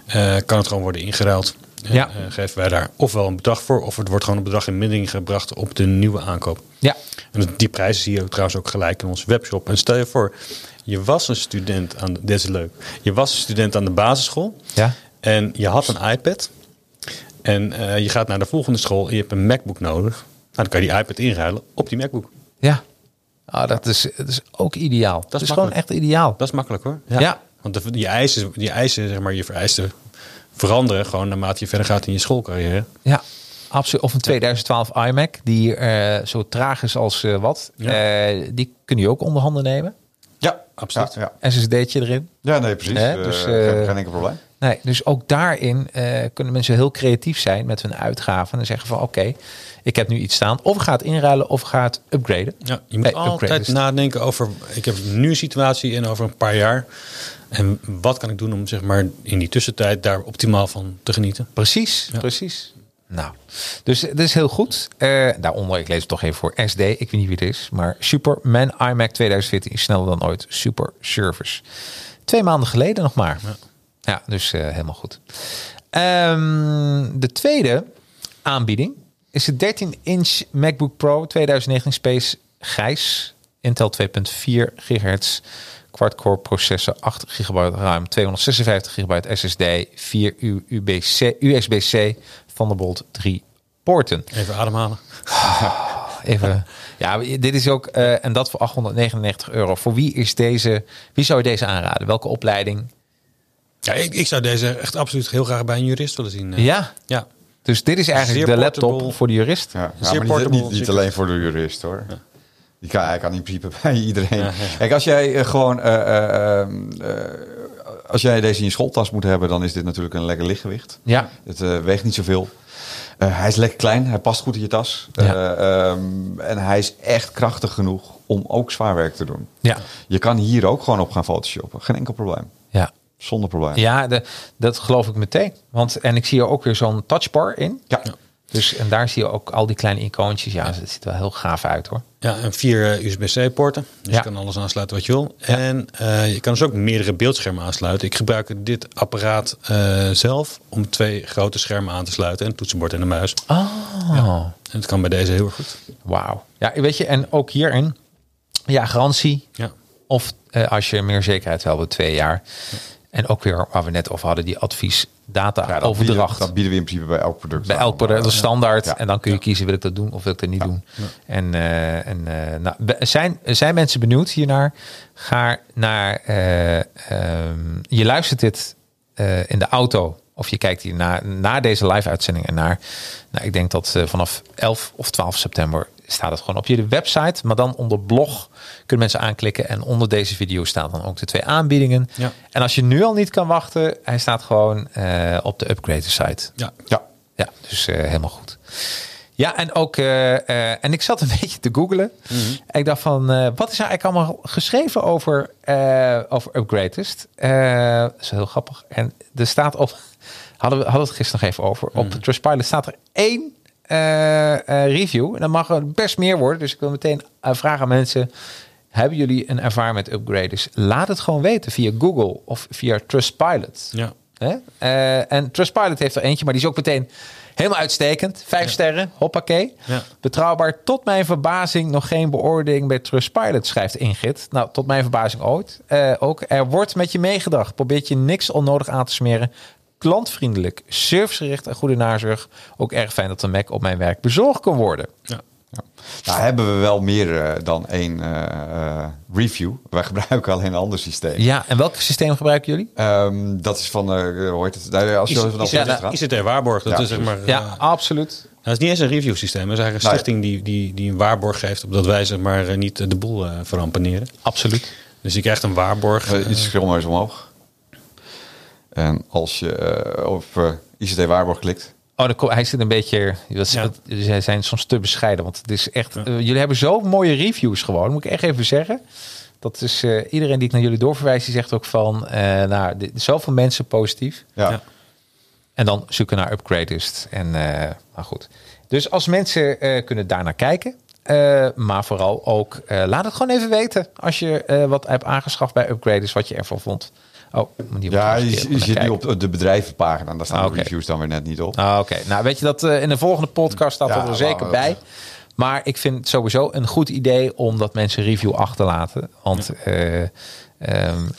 eh, kan het gewoon worden ingeruild. En,
Ja.
eh, geven wij daar ofwel een bedrag voor, of het wordt gewoon een bedrag in mindering gebracht op de nieuwe aankoop.
Ja,
En dat- die prijzen zie je ook trouwens ook gelijk in onze webshop. En stel je voor, je was een student aan de, dit is leuk. Je was een student aan de basisschool
Ja.
en je had een iPad. En eh, je gaat naar de volgende school en je hebt een MacBook nodig. Nou, dan kan je die iPad inruilen op die MacBook.
ja. Ah, dat, is, dat is ook ideaal. Dat is, gewoon echt
makkelijk.
ideaal.
Dat is makkelijk hoor.
Ja.
Want de, die, eisen, die eisen, zeg maar, je vereisten veranderen gewoon naarmate je verder gaat in je schoolcarrière.
Ja, absoluut. Of een 2012 iMac, die eh, zo traag is als eh, wat.
Ja.
Eh, die kun je ook onder handen nemen.
Ja,
Absoluut.
Ja, ja. SSD'tje
SSD'tje erin.
Ja, nee, precies.
Hè,
Eh,
dus,
geen-
eh,
geen enkel probleem.
Nee, dus ook daarin eh, kunnen mensen heel creatief zijn met hun uitgaven. En zeggen van oké, ik heb nu iets staan. Of ik ga het inruilen of ik ga het upgraden.
Ja, je moet
Nee, upgraden
altijd
is het.
nadenken over, ik heb nu een situatie en over een paar jaar. En wat kan ik doen om zeg maar, in die tussentijd daar optimaal van te genieten?
Precies, precies. Nou, dus dat is heel goed. Eh, daaronder, ik lees het toch even voor SD. Ik weet niet wie het is. Maar Superman iMac 2014 is sneller dan ooit. Super service. Twee maanden geleden nog maar. Ja, dus eh, helemaal goed. Ehm, de tweede aanbieding is de 13-inch MacBook Pro 2019 Space Grijs. Intel 2.4 gigahertz. Quad-core processor, 8 gigabyte RAM, 256 gigabyte SSD, 4 U- UBC, USB-C, Thunderbolt 3 poorten.
Even ademhalen.
Even, ja, dit is ook, eh, en dat voor 899 euro. Voor wie is deze, wie zou je deze aanraden? Welke opleiding?
Ja, ik, ik zou deze echt absoluut heel graag bij een jurist willen zien. eh.
Ja,
ja.
dus dit is eigenlijk
Zeer
de laptop
portable.
voor de jurist.
Ja, ja,
zeer
maar niet,
portable
niet, niet
circuit.
alleen voor de jurist hoor. Die kan, hij kan in principe bij iedereen. Kijk, als jij eh, gewoon. eh, eh, eh, als jij deze in je schooltas moet hebben, dan is dit natuurlijk een lekker lichtgewicht.
Ja.
Het eh, weegt niet zoveel. Eh, hij is lekker klein, hij past goed in je tas.
Ja.
Eh, ehm, en hij is echt krachtig genoeg om ook zwaar werk te doen.
Ja.
Je kan hier ook gewoon op gaan photoshoppen. Geen enkel probleem.
Ja,
Zonder probleem.
ja de, dat geloof ik meteen. Want, en ik zie er ook weer zo'n touchbar in.
Ja.
Dus, en daar zie je ook al die kleine icoontjes. Ja, het ziet er wel heel gaaf uit hoor.
Ja, en vier eh, USB-C-poorten. Dus
Ja.
je kan alles aansluiten wat je wil. En eh, je kan dus ook meerdere beeldschermen aansluiten. Ik gebruik dit apparaat eh, zelf om twee grote schermen aan te sluiten. Een toetsenbord en een muis.
Oh,
En dat kan bij deze heel erg goed.
wauw. Ja, weet je, en ook hierin, ja, garantie.
Ja.
Of eh, als je meer zekerheid wil, hebben, twee jaar. En ook weer waar we net over hadden, die adviesdata
Ja, dat
overdracht.
Bieden, dat bieden we in principe bij elk product.
bij
aan.
elk product, dat is standaard.
Ja.
En dan kun je kiezen, wil ik dat doen of wil ik dat niet doen. En, eh, en eh, nou, be- zijn, zijn mensen benieuwd hiernaar? Ga naar, eh, ehm, je luistert dit eh, in de auto. Of je kijkt hier na, na deze live uitzending en naar. Nou, ik denk dat eh, vanaf 11 of 12 september staat het gewoon op je website. Maar dan onder blog kunnen mensen aanklikken. En onder deze video staan dan ook de twee aanbiedingen.
Ja.
En als je nu al niet kan wachten, hij staat gewoon eh, op de upgrade site.
Ja.
Ja.
Ja, dus eh, helemaal goed. Ja, en ook, eh, eh, en ik zat een <laughs> beetje te googlen. En ik dacht van, eh, wat is er eigenlijk allemaal geschreven over, eh over Upgradest? Eh, dat is heel grappig. En er staat op, <laughs> hadden we hadden we het gisteren nog even over, op Trustpilot staat er één eh, eh, review. En dat mag er best meer worden. Dus ik wil meteen eh, vragen aan mensen, hebben jullie een ervaring met Upgraders? Laat het gewoon weten via Google of via Trustpilot.
Ja.
Hè? Eh, en Trustpilot heeft er eentje, maar die is ook meteen helemaal uitstekend. Vijf sterren, hoppakee.
Ja.
Betrouwbaar, tot mijn verbazing nog geen beoordeling bij Trustpilot, schrijft Ingrid. Nou, tot mijn verbazing ooit. Eh, ook, er wordt met je meegedacht. Probeert je niks onnodig aan te smeren. Klantvriendelijk, servicegericht en goede nazorg. Ook erg fijn dat de Mac op mijn werk bezorgd kan worden.
Nou, hebben we wel meer eh, dan één eh, eh, review. Wij <laughs> gebruiken alleen een ander systeem.
Ja, en welk systeem gebruiken jullie?
Ehm, dat is van, eh hoe heet het? Nou, Als je
Is,
vanaf
is,
de
het-
website gaat.
is het er waarborg? Dat
Ja,
is zeg maar.
Ja,
eh, nou,
absoluut.
het is niet eens een review systeem. Het is eigenlijk een
Nee.
stichting die, die, die een waarborg geeft. Opdat wij zeg maar eh, niet eh, de boel eh verampaneren.
Absoluut.
Dus je krijgt een waarborg.
Eh, iets scroll maar eens omhoog. En als je eh, op eh, ICT Waarborg klikt.
Oh, dan kom- hij zit een beetje. Dat,
Ja.
dat- zij zijn soms te bescheiden. Want het is echt. eh, jullie hebben zo mooie reviews gewoon. Moet ik echt even zeggen. Dat is eh, iedereen die ik naar jullie doorverwijs, die zegt ook van. eh nou, dit- zoveel mensen positief.
Ja.
Ja.
En dan zoeken naar upgradist. En eh, maar goed. Dus als mensen eh kunnen daarnaar kijken. eh, maar vooral ook, eh, laat het gewoon even weten. Als je eh, wat hebt aangeschaft bij upgraders, wat je ervan vond. Oh, ik moet die op
Ja,
de
je,
verkeerde
je zit
kijken.
nu op de bedrijvenpagina. en Daar staan
Ah,
de
oké.
reviews dan weer net niet op.
Ah, Oké, nou weet je dat eh, in de volgende podcast staat
Ja,
dat er zeker
wauw.
bij. Maar ik vind het sowieso een goed idee om dat mensen review achterlaten. Want eh, ehm,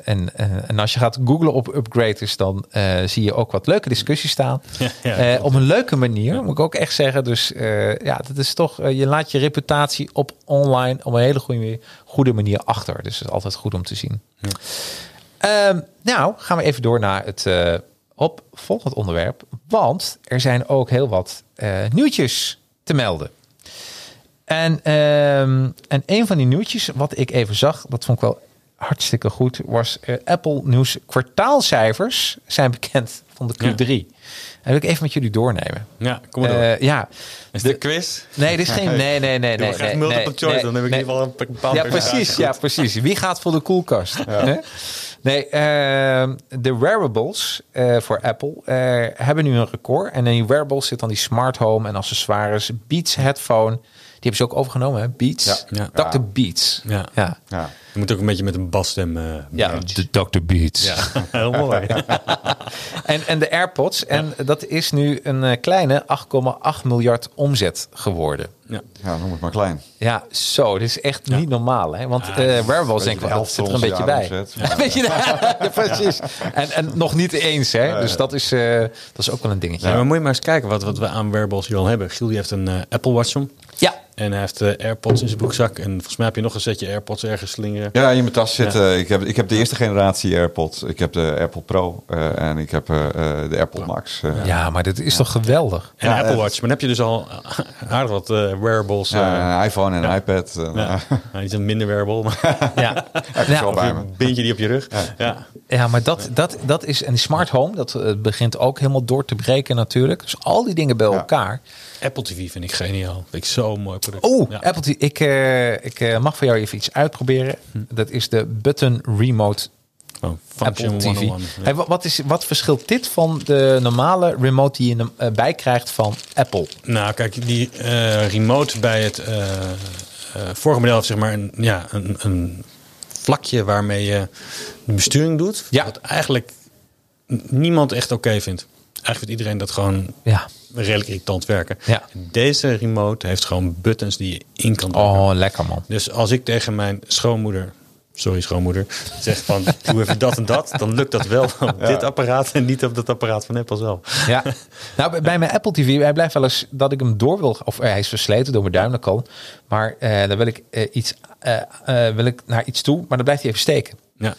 en, eh, en als je gaat googlen op upgraders, dan eh, zie je ook wat leuke discussies staan.
ja,
Eh, op een leuke manier, moet ik ook echt zeggen. Dus eh, ja, dat is toch, eh, je laat je reputatie op online op een hele goede, goede manier achter. Dus het is altijd goed om te zien. Ehm, nou, gaan we even door naar het eh, op volgend onderwerp. Want er zijn ook heel wat eh, nieuwtjes te melden. En, ehm, en een van die nieuwtjes, wat ik even zag, dat vond ik wel hartstikke goed, was eh, Apple News kwartaalcijfers zijn bekend van de Q3. En wil ik even met jullie doornemen.
ja, kom maar door.
Eh, ja.
is dit een quiz?
Nee, dit is
<laughs>
geen. Nee, nee, nee. nee,
Doe
nee,
maar graag
nee,
multiple
nee,
choice, dan heb ik in
nee.
ieder geval een bepaald
Ja,
percentage.
precies. Ja, precies. Wie gaat voor de koelkast? Hè? Nee, ehm, de wearables eh, voor Apple eh, hebben nu een record. En in die wearables zit dan die smart home en accessoires. Beats headphone. Die hebben ze ook overgenomen, hè? Beats.
Ja.
Dr. Beats.
Ja.
Ja.
Ja.
Je moet ook een beetje met een basstem. eh
Ja, de Dr. Beats.
ja. <laughs> heel mooi.
En, en de AirPods. En dat is nu een eh, kleine 8,8 miljard omzet geworden.
Ja.
ja, noem het maar klein.
Ja, zo. Dit is echt niet normaal, hè? Want eh wearables, denk ik,
de
wel, dat
helft
zit er
van
een beetje
onze
bij.
jaaromzet.
Ja, weet je, <laughs> ja, precies. En, en nog niet eens, hè? dus dat is, eh, dat is ook wel een dingetje.
Ja,
Ja,
maar moet je maar eens kijken wat, wat we aan wearables hier al hebben. Giel die heeft een eh, Apple Watch om. En hij heeft eh, AirPods in zijn broekzak. En volgens mij heb je nog een setje AirPods ergens slingeren.
Ja, in mijn tas zitten. eh, Ik, heb, ik heb de eerste generatie AirPods. Ik heb de AirPod Pro eh, en ik heb eh, eh, de AirPod Max. eh.
ja. maar dit is toch geweldig?
En
Ja,
een Apple
echt.
Watch. Maar dan heb je dus al <laughs> aardig wat eh, wearables. eh
Ja, een iPhone en een iPad. en,
ja.
eh,
Nou, niet een minder wearable, maar <laughs>
<laughs> Ja,
zo
ja,
bij me.
een bindje die op je rug. Ja.
ja maar dat, dat, dat is... En die smart home, dat eh, begint ook helemaal door te breken natuurlijk. Dus al die dingen bij elkaar.
Apple TV vind ik geniaal. Vind ik zo'n mooi product.
Oh,
Ja.
Apple TV. Ik, eh, ik eh, mag voor jou even iets uitproberen. Dat is de Button Remote
Gewoon
Apple
Function
TV.
101. Ja.
Hey, wa- wat, is, wat verschilt dit van de normale remote die je hem, eh, bij krijgt van Apple?
Nou, kijk, die eh, remote bij het eh, eh, vorige model heeft zeg maar een, ja, een, een vlakje waarmee je de besturing doet.
Ja.
Wat eigenlijk n- niemand echt oké vindt. Eigenlijk vindt iedereen dat gewoon
Ja.
redelijk irritant werken.
Ja.
Deze remote heeft gewoon buttons die je in kan drukken.
Oh, lekker man.
Dus als ik tegen mijn schoonmoeder, sorry schoonmoeder, zeg van <laughs> doe even dat en dat, dan lukt dat wel op dit apparaat en niet op dat apparaat van Apple zelf.
<laughs> Ja. Nou, bij- bij mijn Apple TV, hij blijft wel eens dat ik hem door wil. Of eh, hij is versleten door mijn duim, dat kan. Maar eh, dan wil ik, eh, iets, eh, eh, wil ik naar iets toe, maar dan blijft hij even steken.
Ja.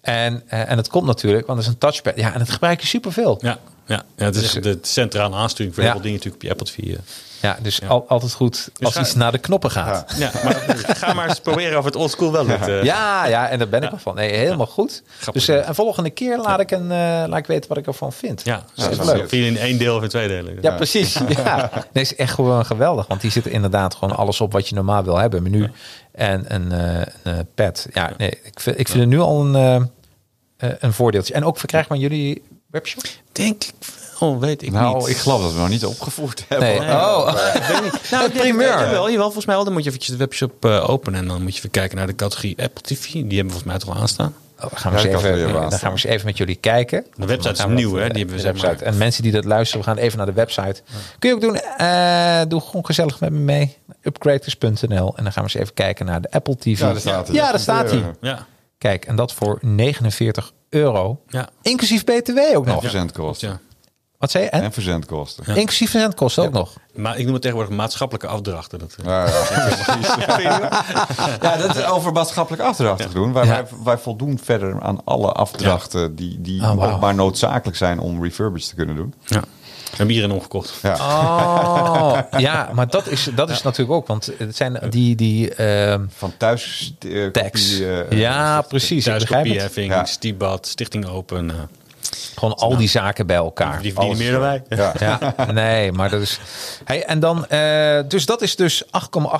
En, eh, en dat komt natuurlijk, want het is een touchpad. Ja, en dat gebruik je superveel.
Ja. Ja, ja het is
Dus,
echt de centrale aansturing voor
ja.
heel veel dingen natuurlijk op je Apple TV. eh.
Ja, dus al- altijd goed als
ga-
iets naar de knoppen gaat.
Ja, maar <laughs> ga maar eens proberen of het oldschool wel lukt. eh.
Ja, ja, en daar ben ik wel van. Nee, helemaal goed. Dus eh, een volgende keer laat ik, een, eh, laat ik weten wat ik ervan vind.
Ja,
dat is
ja,
echt
leuk.
leuk.
Of je in één deel of in twee delen.
Ja, precies. Ja. Nee, is echt gewoon geweldig. Want die zit inderdaad gewoon alles op wat je normaal wil hebben. Menu en een, eh een pad. Ja, nee, ik vind, ik vind het nu al een, eh, eh, een voordeeltje. En ook verkrijgbaar in jullie webshop?
Denk ik wel, weet ik
Nou,
niet.
ik geloof dat we nog niet opgevoerd hebben.
Nee. Oh,
Nou, ik denk-
<laughs> primeur.
eh, Jawel, jawel, volgens mij wel. Dan moet je eventjes de webshop eh, openen en dan moet je even kijken naar de categorie Apple TV. Die hebben we volgens mij toch al aanstaan.
Oh, dan gaan we eens
Ja, ik had
even,
het weer
dan
laatst.
gaan we eens even met jullie kijken.
De website is
Dan gaan we
nieuw,
dat,
hè?
eh,
Die hebben we,
de
zeg maar.
website. En mensen die dat luisteren, we gaan even naar de website. Kun je ook doen, eh, doe gewoon gezellig met me mee. Upgraders.nl. En dan gaan we eens even kijken naar de Apple TV.
Ja, daar staat hij.
Ja, daar staat hij.
Ja.
Ja,
Kijk, en dat voor 49 euro.
ja.
Inclusief BTW ook nog.
Verzendkosten.
ja.
Wat zei je? En?
En verzendkosten. Ja.
Inclusief verzendkosten ook nog.
Maar ik noem het tegenwoordig maatschappelijke afdrachten. Dat, eh,
<laughs> Ja, dat is over maatschappelijk afdrachtig doen. Wij, wij, wij voldoen verder aan alle afdrachten die, die
Oh, wauw.
ook maar noodzakelijk zijn om refurbished te kunnen doen.
ja. We hebben hierin omgekocht.
Ja.
Oh, <laughs> ja, maar dat is, dat is natuurlijk ook. Want het zijn die, die ehm
Van thuis... eh,
tags.
kopie, eh,
ja, precies. Ik begrijp het.
Thuiskopieheffing,
Ja.
Stibat, Stichting Open. eh,
Gewoon al die zaken bij elkaar.
die verdienen meer dan
eh,
wij.
ja.
Ja, nee, maar dat is. Hey, en dan, eh, dus dat is dus 8,8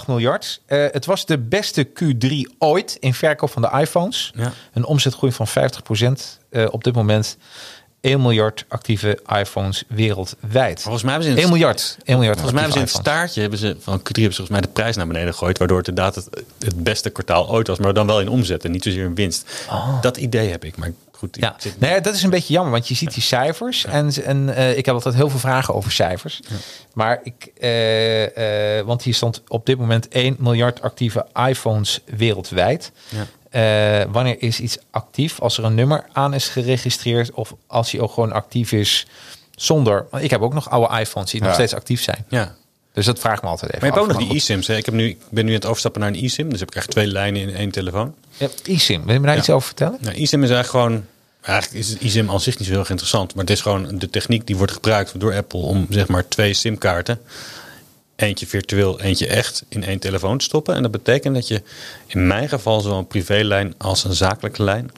miljard. Eh, het was de beste Q3 ooit in verkoop van de iPhones.
Ja.
Een omzetgroei van 50 eh, op dit moment. 1 miljard actieve iPhones wereldwijd.
Volgens mij hebben ze in
1
het-
miljard. 1 miljard.
Volgens mij hebben ze in
actieve
het
iPhones.
staartje hebben ze, van Q3 hebben ze volgens mij de prijs naar beneden gegooid. Waardoor het inderdaad het, het beste kwartaal ooit was. Maar dan wel in omzet en niet zozeer in winst. Dat idee heb ik. Maar goed, ik
Ja,
zit-
nou ja, dat is een beetje jammer, want je ziet die cijfers. En, en eh, ik heb altijd heel veel vragen over cijfers. Maar ik, eh, eh, want hier stond op dit moment 1 miljard actieve iPhones wereldwijd. Eh, wanneer is iets actief? Als er een nummer aan is geregistreerd of als hij ook gewoon actief is zonder. Want ik heb ook nog oude iPhones die nog
Ja.
steeds actief zijn.
ja.
Dus dat vraag ik me altijd even.
Maar je hebt ook
af.
nog die e-sims. hè. Ik, heb nu, ik ben nu aan het overstappen naar een e-sim. Dus heb ik echt twee lijnen in één telefoon.
Ja, eSIM, wil je me daar
Ja.
iets over vertellen?
Nou, eSIM is eigenlijk gewoon... Eigenlijk is het eSIM al zich niet zo heel erg interessant. Maar het is gewoon de techniek die wordt gebruikt door Apple... om zeg maar twee simkaarten... eentje virtueel, eentje echt... in één telefoon te stoppen. En dat betekent dat je in mijn geval... zowel een privélijn als een zakelijke lijn...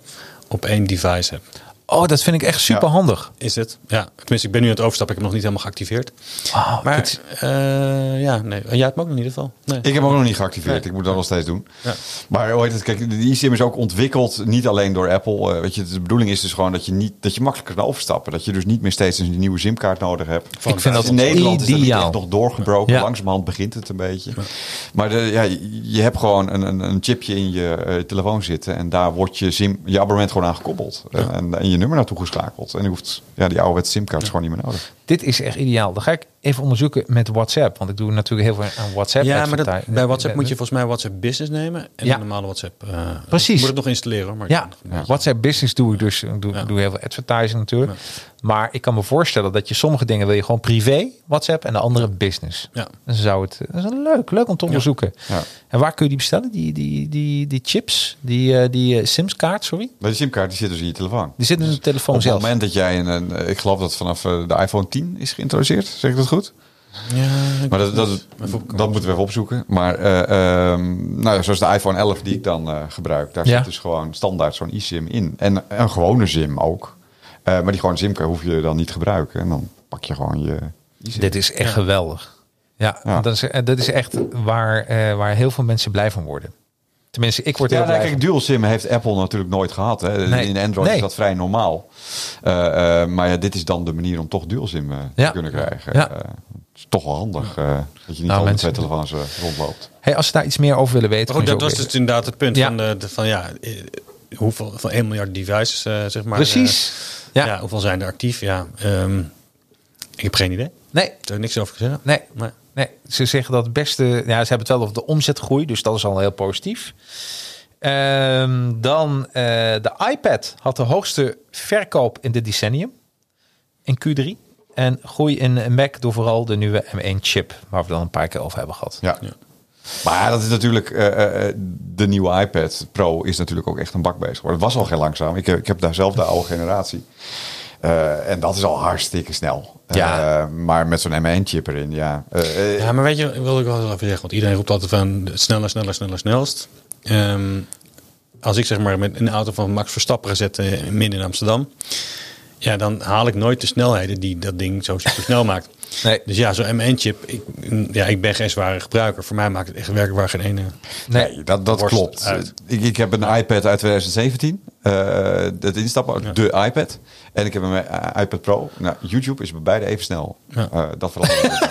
op één device hebt.
Oh, dat vind ik echt super handig.
Is het? Ja. Tenminste, ik ben nu aan het overstappen. Ik heb hem nog niet helemaal geactiveerd.
Oh,
maar eh, ja, nee. Jij hebt hem ook nog in ieder geval. Nee.
Ik heb hem ook nog niet geactiveerd. Ik moet dat nog steeds doen. Maar hoe heet het? Kijk, de eSIM is ook ontwikkeld niet alleen door Apple. Eh, weet je, de bedoeling is dus gewoon dat je, niet, dat je makkelijker kan overstappen. Dat je dus niet meer steeds een nieuwe SIM-kaart nodig hebt.
vind dat
in Nederland is dat niet
ideaal.
echt nog doorgebroken.
Ja.
Langzamerhand begint het een beetje. Maar de, ja, je hebt gewoon een, een, een chipje in je eh, telefoon zitten. En daar wordt je, SIM, je abonnement gewoon aan gekoppeld. Eh, En, en je nummer naartoe geschakeld. En je hoeft ja, die ouderwetse SIM-kaart is gewoon niet meer nodig.
Dit is echt ideaal. Dan ga ik even onderzoeken met WhatsApp. Want ik doe natuurlijk heel veel aan WhatsApp.
Ja, maar dat,
advertise-
bij WhatsApp moet je volgens mij WhatsApp Business nemen. En
Ja.
een normale WhatsApp. eh,
Precies.
ik Moet het nog installeren. hoor, Maar
Ja, WhatsApp Business doe ik dus. Ik doe, doe heel veel advertising natuurlijk. Maar ik kan me voorstellen dat je sommige dingen wil je gewoon privé WhatsApp en de andere business.
Ja.
Dan zou het, dat is een leuk, leuk om te onderzoeken.
Ja.
En waar kun je die bestellen? Die, die, die, die chips, die, eh, die eh, Sims-kaart, sorry.
Maar die SIM-kaart die zit dus in je telefoon.
Die zitten in de telefoon
Op het
zelf.
moment dat jij een, een- ik geloof dat vanaf eh, de iPhone 10 is geïntroduceerd, zeg ik dat goed?
Ja,
Maar dat, dat, dat moeten we even opzoeken. Maar eh, ehm, nou ja, zoals de iPhone 11 die ik dan eh, gebruik, daar
Ja.
zit dus gewoon standaard zo'n eSIM in. En een gewone SIM ook. Eh, maar die gewone SIM hoef je dan niet te gebruiken. En dan pak je gewoon je eSIM.
Dit is echt geweldig. Ja,
Ja.
Dat, is, eh, dat is echt waar, eh, waar heel veel mensen blij van worden. Tenminste, ik word
Ja,
heel
nou,
blij van.
kijk, dual SIM heeft Apple natuurlijk nooit gehad. Hè.
Nee.
In Android
Nee.
is dat vrij normaal. Eh, eh, maar ja, dit is dan de manier om toch dual SIM eh,
Ja.
te kunnen krijgen.
Ja.
Eh, het is toch wel handig eh, dat je niet
Nou,
al met
mensen-
twee telefoons eh, rondloopt.
Hey, als ze daar iets meer over willen weten.
Maar goed, dat
kunnen ze
was
ook
dus inderdaad het punt
Ja.
van, de, de- van ja, eh, hoeveel van 1 miljard devices, eh, zeg maar.
Precies.
eh,
ja.
ja. hoeveel zijn er actief? Ja, ehm, ik heb geen idee.
Nee,
Ik heb niks over gezegd.
nee,
Maar,
nee. Ze zeggen dat het beste. Ja, ze hebben het wel over de omzetgroei, dus dat is al heel positief. Ehm, dan eh, de iPad had de hoogste verkoop in dit decennium in Q3. En groei in Mac door vooral de nieuwe M1-chip, waar we dan een paar keer over hebben gehad.
Ja. Maar dat is natuurlijk, eh, eh, de nieuwe iPad Pro is natuurlijk ook echt een bak bezig. geworden. Het was al geen langzaam. Ik, heb- ik heb daar zelf de oude generatie. Eh, Eh, en dat is al hartstikke snel.
Ja.
Eh, maar met zo'n M1-chip erin, ja. Eh, eh,
Ja, maar weet je, wilde ik wel even zeggen. Want iedereen roept altijd van sneller, sneller, sneller, snelst. Ehm, als ik zeg maar met een auto van Max Verstappen gezet eh, midden in Amsterdam. Ja, dan haal ik nooit de snelheden die dat ding zo super snel <laughs> maakt.
Nee.
Dus ja, zo'n M1-chip. Ik, mm, ja, ik ben geen zware gebruiker. Voor mij maakt het echt werkbaar geen ene.
Nee.
Nee, dat, dat
Worst
klopt.
uit.
Ik, ik heb een iPad uit 2017. eh het instappen, de iPad. En ik heb een eh, iPad Pro. Nou, YouTube is bij beide even snel. Eh, dat verandert.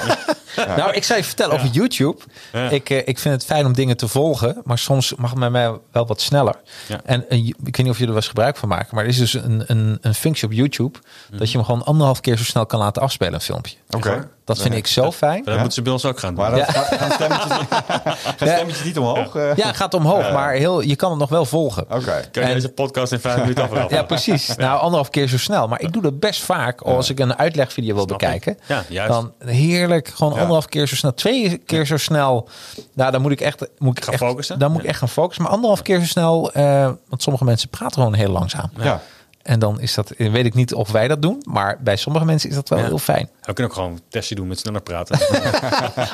Nou, ik zou je vertellen over YouTube.
Ja.
Ik, eh, ik vind het fijn om dingen te volgen, maar soms mag het bij mij wel wat sneller.
Ja.
En eh, ik weet niet of jullie er wel eens gebruik van maken, maar er is dus een, een, een functie op YouTube
Mhm.
dat je hem gewoon anderhalf keer zo snel kan laten afspelen, een filmpje.
Oké.
Dat vind ik zo fijn.
Maar dat moeten ze bij ons ook gaan doen.
Maar dat gaat, gaan stemmetjes, gaan
Ja.
stemmetjes niet omhoog. eh?
Ja, het gaat omhoog, maar heel, je kan het nog wel volgen.
Oké.
Kun je
En-
deze podcast in vijf minuten afraffen?
<laughs> Ja,
<laughs>
precies. Nou, anderhalf keer zo snel. Maar ik doe dat best vaak als ik een uitlegvideo wil
Snap ik.
bekijken.
Ja, juist.
Dan heerlijk, gewoon anderhalf keer zo snel. Twee keer zo snel. Nou, dan moet ik echt... Moet ik
Gaan
echt,
focussen?
Dan moet
Ja.
ik echt gaan focussen. Maar anderhalf keer zo snel... eh, want sommige mensen praten gewoon heel langzaam.
Ja.
En dan is dat... eh, Weet ik niet of wij dat doen. Maar bij sommige mensen is dat wel heel fijn.
We kunnen ook gewoon een testje doen met sneller
<laughs>
praten.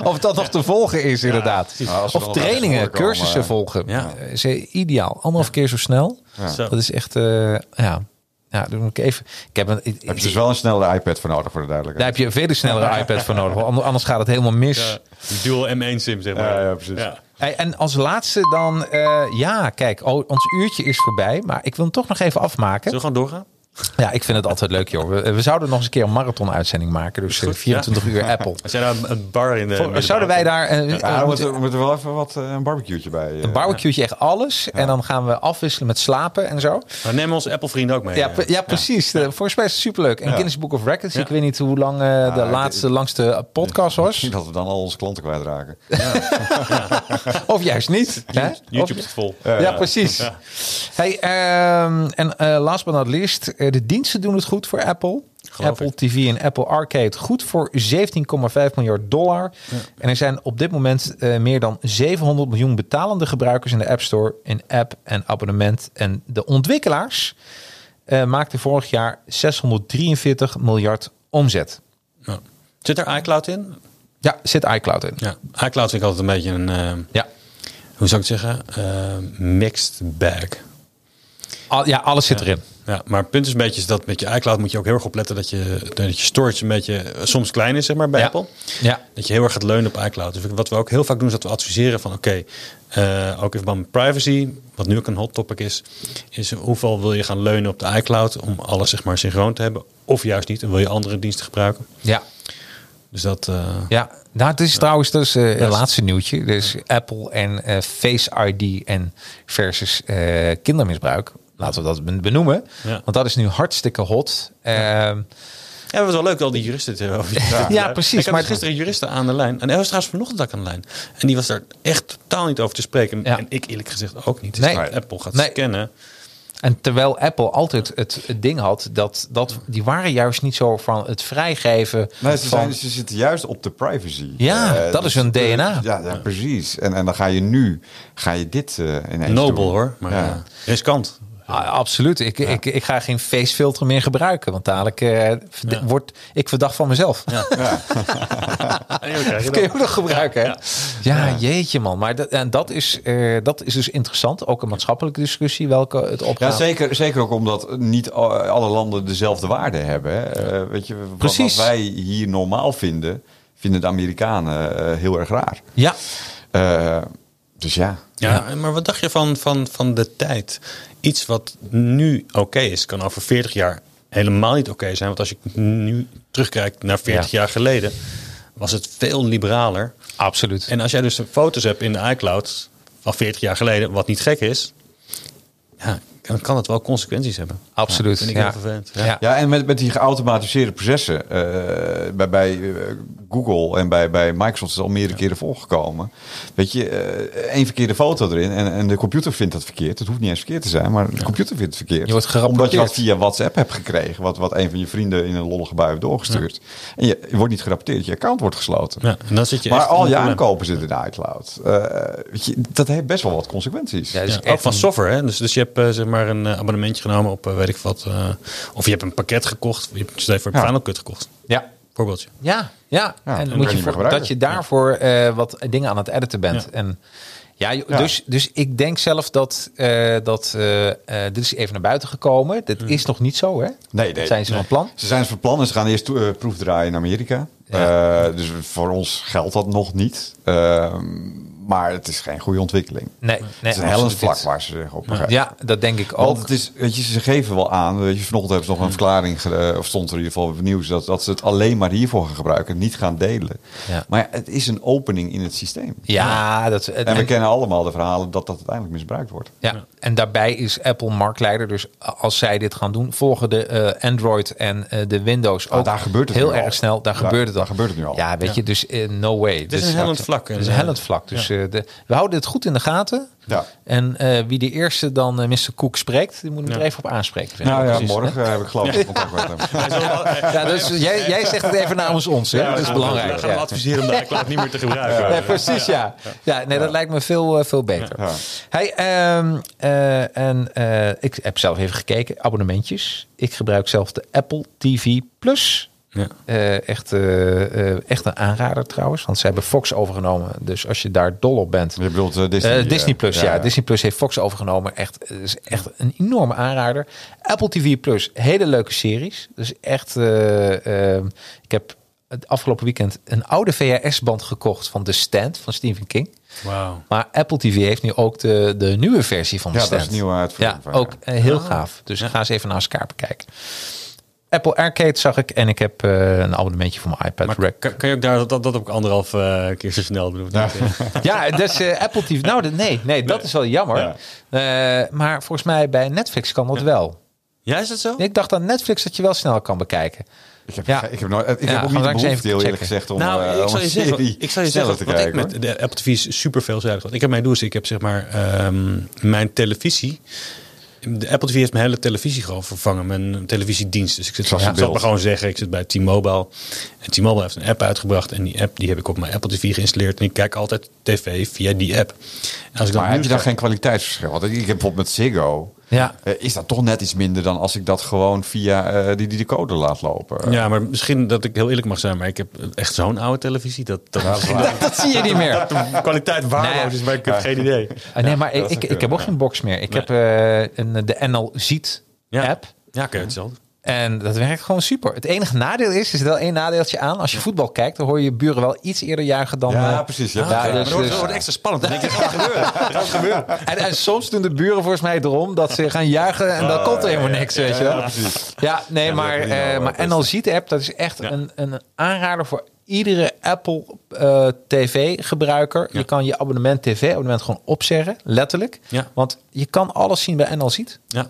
Of dat nog te volgen is, inderdaad.
Nou, als we
of
dan nog ergens
trainingen,
voorkomen,
cursussen
eh,
volgen.
Ja.
Eh, Is eh, ideaal. Anderhalf keer zo snel.
Zo.
Dat is echt... eh, ja. Ja, dan moet ik even. Ik heb een.
Heb je dus wel een snellere iPad voor nodig, voor de
Daar
duidelijkheid.
heb je een veel snellere iPad voor nodig. want Anders gaat het helemaal mis.
Ja, eh, dual M1-sim, zeg maar.
Ja, ja, precies.
Hey, en als laatste dan... eh, ja, kijk, oh, ons uurtje is voorbij. Maar ik wil hem toch nog even afmaken.
Zullen we gewoon doorgaan?
Ja, ik vind het altijd leuk, joh. We, we zouden nog eens een keer een marathon-uitzending maken. Dus eh,
goed,
24 uur
<laughs>
Apple.
Als jij daar een- een bar in de... middenbouw-
Zouden wij daar... eh, eh,
Ja, we
moeten-
Ah, moeten, we moeten wel even wat, eh, een barbecueetje bij. eh.
een barbecue, echt alles. En dan gaan we afwisselen met slapen en zo.
Maar neem onze Apple-vrienden ook mee.
Ja,
eh.
pre- ja precies. Eh, volgens mij is het superleuk. En Guinness Book of Records. Ik weet niet hoe lang eh, de
ik-
laatste, langste podcast was.
Misschien <laughs> dat we dan al onze klanten kwijtraken.
Of juist niet. hè? Of-
YouTube is vol.
ja, precies. Hey, ehm, en eh, last but not least, eh, de diensten doen het goed voor Apple.
Geloof
Apple
ik.
TV en Apple Arcade goed voor 17,5 miljard dollar. En er zijn op dit moment eh, meer dan 700 miljoen betalende gebruikers in de App Store, in app en abonnement. En de ontwikkelaars eh, maakten vorig jaar 643 miljard omzet.
Ja. Zit er iCloud in?
Ja, zit iCloud in.
Ja, iCloud vind ik altijd een beetje een... eh,
Ja,
hoe zou ik het zeggen? Eh, mixed bag.
Al- ja alles zit erin.
Ja, maar het punt is een beetje is dat met je iCloud moet je ook heel erg opletten dat je, dat je storage een beetje eh, soms klein is, zeg maar, bij
Ja.
Apple.
Ja.
Dat je heel erg gaat leunen op iCloud. Dus wat we ook heel vaak doen is dat we adviseren van oké, eh, ook in verband met privacy, wat nu ook een hot topic is, is hoeveel wil je gaan leunen op de iCloud om alles zeg maar synchroon te hebben of juist niet en wil je andere diensten gebruiken.
Ja.
Dus dat... eh,
Ja, nou, het is trouwens dus eh, een laatste nieuwtje. Dus Apple en eh, Face ID en versus eh, kindermisbruik. Laten we dat ben- benoemen.
Ja.
Want dat is nu hartstikke hot. Ehm,
Ja, dat was wel leuk, al die juristen het over. Ja,
precies,
Ik had dus
maar-
gisteren juristen aan de lijn. En er was trouwens vanochtend ook aan de lijn. En die was daar echt totaal niet over te spreken.
Ja.
En ik eerlijk gezegd ook niet. Dus
Nee.
als Apple gaat
Nee.
scannen.
en terwijl Apple altijd het, het ding had dat, dat die waren juist niet zo van het vrijgeven.
Nee, ze,
van,
zijn, ze zitten juist op de privacy.
Ja,
Eh,
dat is hun
eh,
DNA.
Ja, ja, precies. En, en dan ga je nu ga je dit eh ineens
Nobel
doen.
hoor, maar
Ja.
eh, riskant.
Ah, absoluut. Ik, ik, ik ga geen facefilter meer gebruiken. Want dadelijk eh, verd- word ik verdacht van mezelf. Ah,
<laughs>
Dat kun je ook nog gebruiken. hè? Ja, jeetje man. Maar dat, en dat is, eh, dat is dus interessant. Ook een maatschappelijke discussie welke het
Ja,
opgaat.
zeker, zeker ook omdat niet al- alle landen dezelfde waarde hebben. Hè. Eh, weet je, wat-
Precies.
Wat wij hier normaal vinden, vinden de Amerikanen eh, heel erg raar.
Ja.
Eh, dus ja.
Ja, maar wat dacht je van, van, van de tijd? Iets wat nu oké is, kan over 40 jaar helemaal niet oké zijn. Want als je nu terugkijkt naar 40
Ja.
jaar geleden, was het veel liberaler.
absoluut.
En als jij dus foto's hebt in de iCloud van 40 jaar geleden, wat niet gek is, ja, dan kan het wel consequenties hebben.
absoluut.
Vind ik
ja.
heel vervelend. Ja.
Ja.
Ja, en met, met die geautomatiseerde processen. eh, bij bij eh, Google en bij, bij Microsoft is het al meerdere keren voorgekomen. Weet je, eh, één verkeerde foto erin en, en de computer vindt dat verkeerd. Het hoeft niet eens verkeerd te zijn, maar de computer vindt het verkeerd.
Je wordt gerapporteerd.
Omdat je dat via WhatsApp hebt gekregen, wat, wat een van je vrienden in een lollige bui heeft doorgestuurd. En je, je wordt niet gerapporteerd, je account wordt gesloten.
Ja, en dan zit je
maar
echt in
al
een
je
probleem.
aankopen zitten in iCloud. Eh, weet je, dat heeft best wel wat consequenties.
Ja, dus
Ja, ook
echt
van
een-
software. Hè? Dus, dus je hebt eh, zeg maar een eh, abonnementje genomen op eh, weet ik wat. eh, of je hebt een pakket gekocht. Je hebt een voor
Ja.
Final Cut gekocht.
Ja.
Voorbeeldje.
Ja, ja.
dan
en
kan je
moet
niet
je
meer
voor-
gebruiken.
dat je daarvoor eh, wat dingen aan het editen bent.
Ja.
En, ja, joh, Dus, dus ik denk zelf dat, eh, dat eh, eh, dit is even naar buiten gekomen. Dit is nog niet zo, hè?
nee.
Dat zijn ze van plan.
Ze zijn van plan en ze gaan eerst toe- eh, proefdraaien in Amerika. Eh, dus voor ons geldt dat nog niet. Ehm, maar het is geen goede ontwikkeling.
Nee, nee.
het is een hellend
absoluut
vlak
niet.
waar ze zich op begeven.
Ja, dat denk ik
Want
ook. Mm.
het is, weet je, ze geven wel aan. Weet je, vanochtend hebben ze nog een verklaring, ge- eh, of stond er in ieder geval op het nieuws, dat, dat ze het alleen maar hiervoor gaan gebruiken, niet gaan delen.
Ja.
Maar ja, het is een opening in het systeem.
Ja, dat,
En we
en-
kennen allemaal de verhalen dat dat uiteindelijk misbruikt wordt.
Ja, en daarbij is Apple marktleider. Dus als zij dit gaan doen, volgen de eh, Android en eh, de Windows ook
Ah, daar gebeurt het
heel
nu
erg
al.
snel. Daar
Daar-
gebeurt het al.
daar gebeurt het nu al.
Ja, weet je, dus eh, no way. Het
is een hellend vlak, hè.
Het is een hellend vlak. Dus eh, de, we houden het goed in de gaten.
Ja.
En eh, wie de eerste dan eh, Mr. Cook spreekt, die moet ik er even op aanspreken. vind ik.
Nou ja,
Precies.
morgen heb ik geloof ik contact
<laughs>
met hem.
Ja,
<laughs>
dus jij, jij zegt het even namens ons. Hè? dat is belangrijk.
We gaan
ja.
we adviseren om de iCloud niet meer te gebruiken.
Ja, precies, ja. ja. nee, dat lijkt me veel, eh, veel beter.
Ja.
Hey, ehm, eh, en eh, ik heb zelf even gekeken, abonnementjes. Ik gebruik zelf de Apple TV Plus.
Ja.
Eh, echt, eh, eh, echt een aanrader trouwens, want ze hebben Fox overgenomen. Dus als je daar dol op bent.
Je bedoelt eh, Disney,
Eh,
eh,
Disney Plus, ja, Disney Plus heeft Fox overgenomen. Echt, het is echt een enorme aanrader. Apple TV Plus, hele leuke series. Dus echt, eh, eh, ik heb het afgelopen weekend een oude VHS-band gekocht van The Stand van Stephen King.
Wauw.
Maar Apple TV heeft nu ook de, de nieuwe versie van The
Ja, dat
Stand.
is een nieuwe uitvoering
Ja,
van, Ah.
ook eh, heel gaaf. Dus ga eens even naar elkaar bekijken. Apple Arcade zag ik en ik heb eh, een abonnementje voor mijn iPad.
Maar
Rec.
kan, kan je ook daar dat, dat, dat ook anderhalf eh, keer zo snel bedoeld?
<laughs> Ja, dus eh, Apple TV. Nou, dat- nee, nee, dat is wel jammer.
Ja.
Eh, maar volgens mij bij Netflix kan dat wel.
Ja, is dat zo?
Ik dacht aan Netflix dat je wel snel kan bekijken.
Ik heb,
Ja.
ik heb, nooit, ik
Ja,
heb ook
gaan we
niet de
straks even
behoefte, heel eerlijk
checken.
gezegd, om,
nou,
eh,
ik
om
zal je
een
zeggen,
serie
ik zal je
sneller
zeggen,
te
wat ik
kijken.
met
hoor.
de Apple TV is super veelzijdig. Want ik heb mijn doel is, ik heb zeg maar ehm, mijn televisie. De Apple TV heeft mijn hele televisie gewoon vervangen, mijn televisiedienst. Dus ik zit,
Zoals
ik
een
zal het
beeld.
maar gewoon zeggen, ik zit bij T-Mobile. En T-Mobile heeft een app uitgebracht en die app die heb ik op mijn Apple TV geïnstalleerd. En ik kijk altijd tv via die app. En als ik dan nieuws
Maar heb je dan
krijg-
geen kwaliteitsverschil? Want ik ik heb bijvoorbeeld met Ziggo...
Ja.
eh, is dat toch net iets minder dan als ik dat gewoon via eh, die, die de code laat lopen?
Ja, maar misschien dat ik heel eerlijk mag zijn, maar ik heb echt zo'n oude televisie. Dat, dat, misschien
<laughs> Dat zie je niet meer.
dat <laughs> de kwaliteit waardeloos is, maar ik heb geen idee.
Ah, nee, maar ik, ik, ik heb ook geen box meer. Ik heb eh, een, de NL Ziet app.
Ja, oké, hetzelfde.
En dat werkt gewoon super. Het enige nadeel is, is er wel één nadeeltje aan. Als je voetbal kijkt, dan hoor je je buren wel iets eerder juichen dan...
Ja,
eh,
precies. Ja,
ja,
ja,
dus-
Maar dat
dus-
wordt extra spannend. Dan denk je, gaat gebeuren. Gaat gebeuren.
En, en soms doen de buren volgens mij het erom dat ze gaan juichen en dan komt er helemaal niks, weet je wel. Ja, nee, maar,
dat kan niet
eh
wel,
maar
eh,
NLZ de app, dat is echt een, een aanrader voor iedere Apple eh, TV-gebruiker. Je kan je abonnement, TV-abonnement gewoon opzeggen, letterlijk.
Ja.
Want je kan alles zien bij NLZ.
Ja.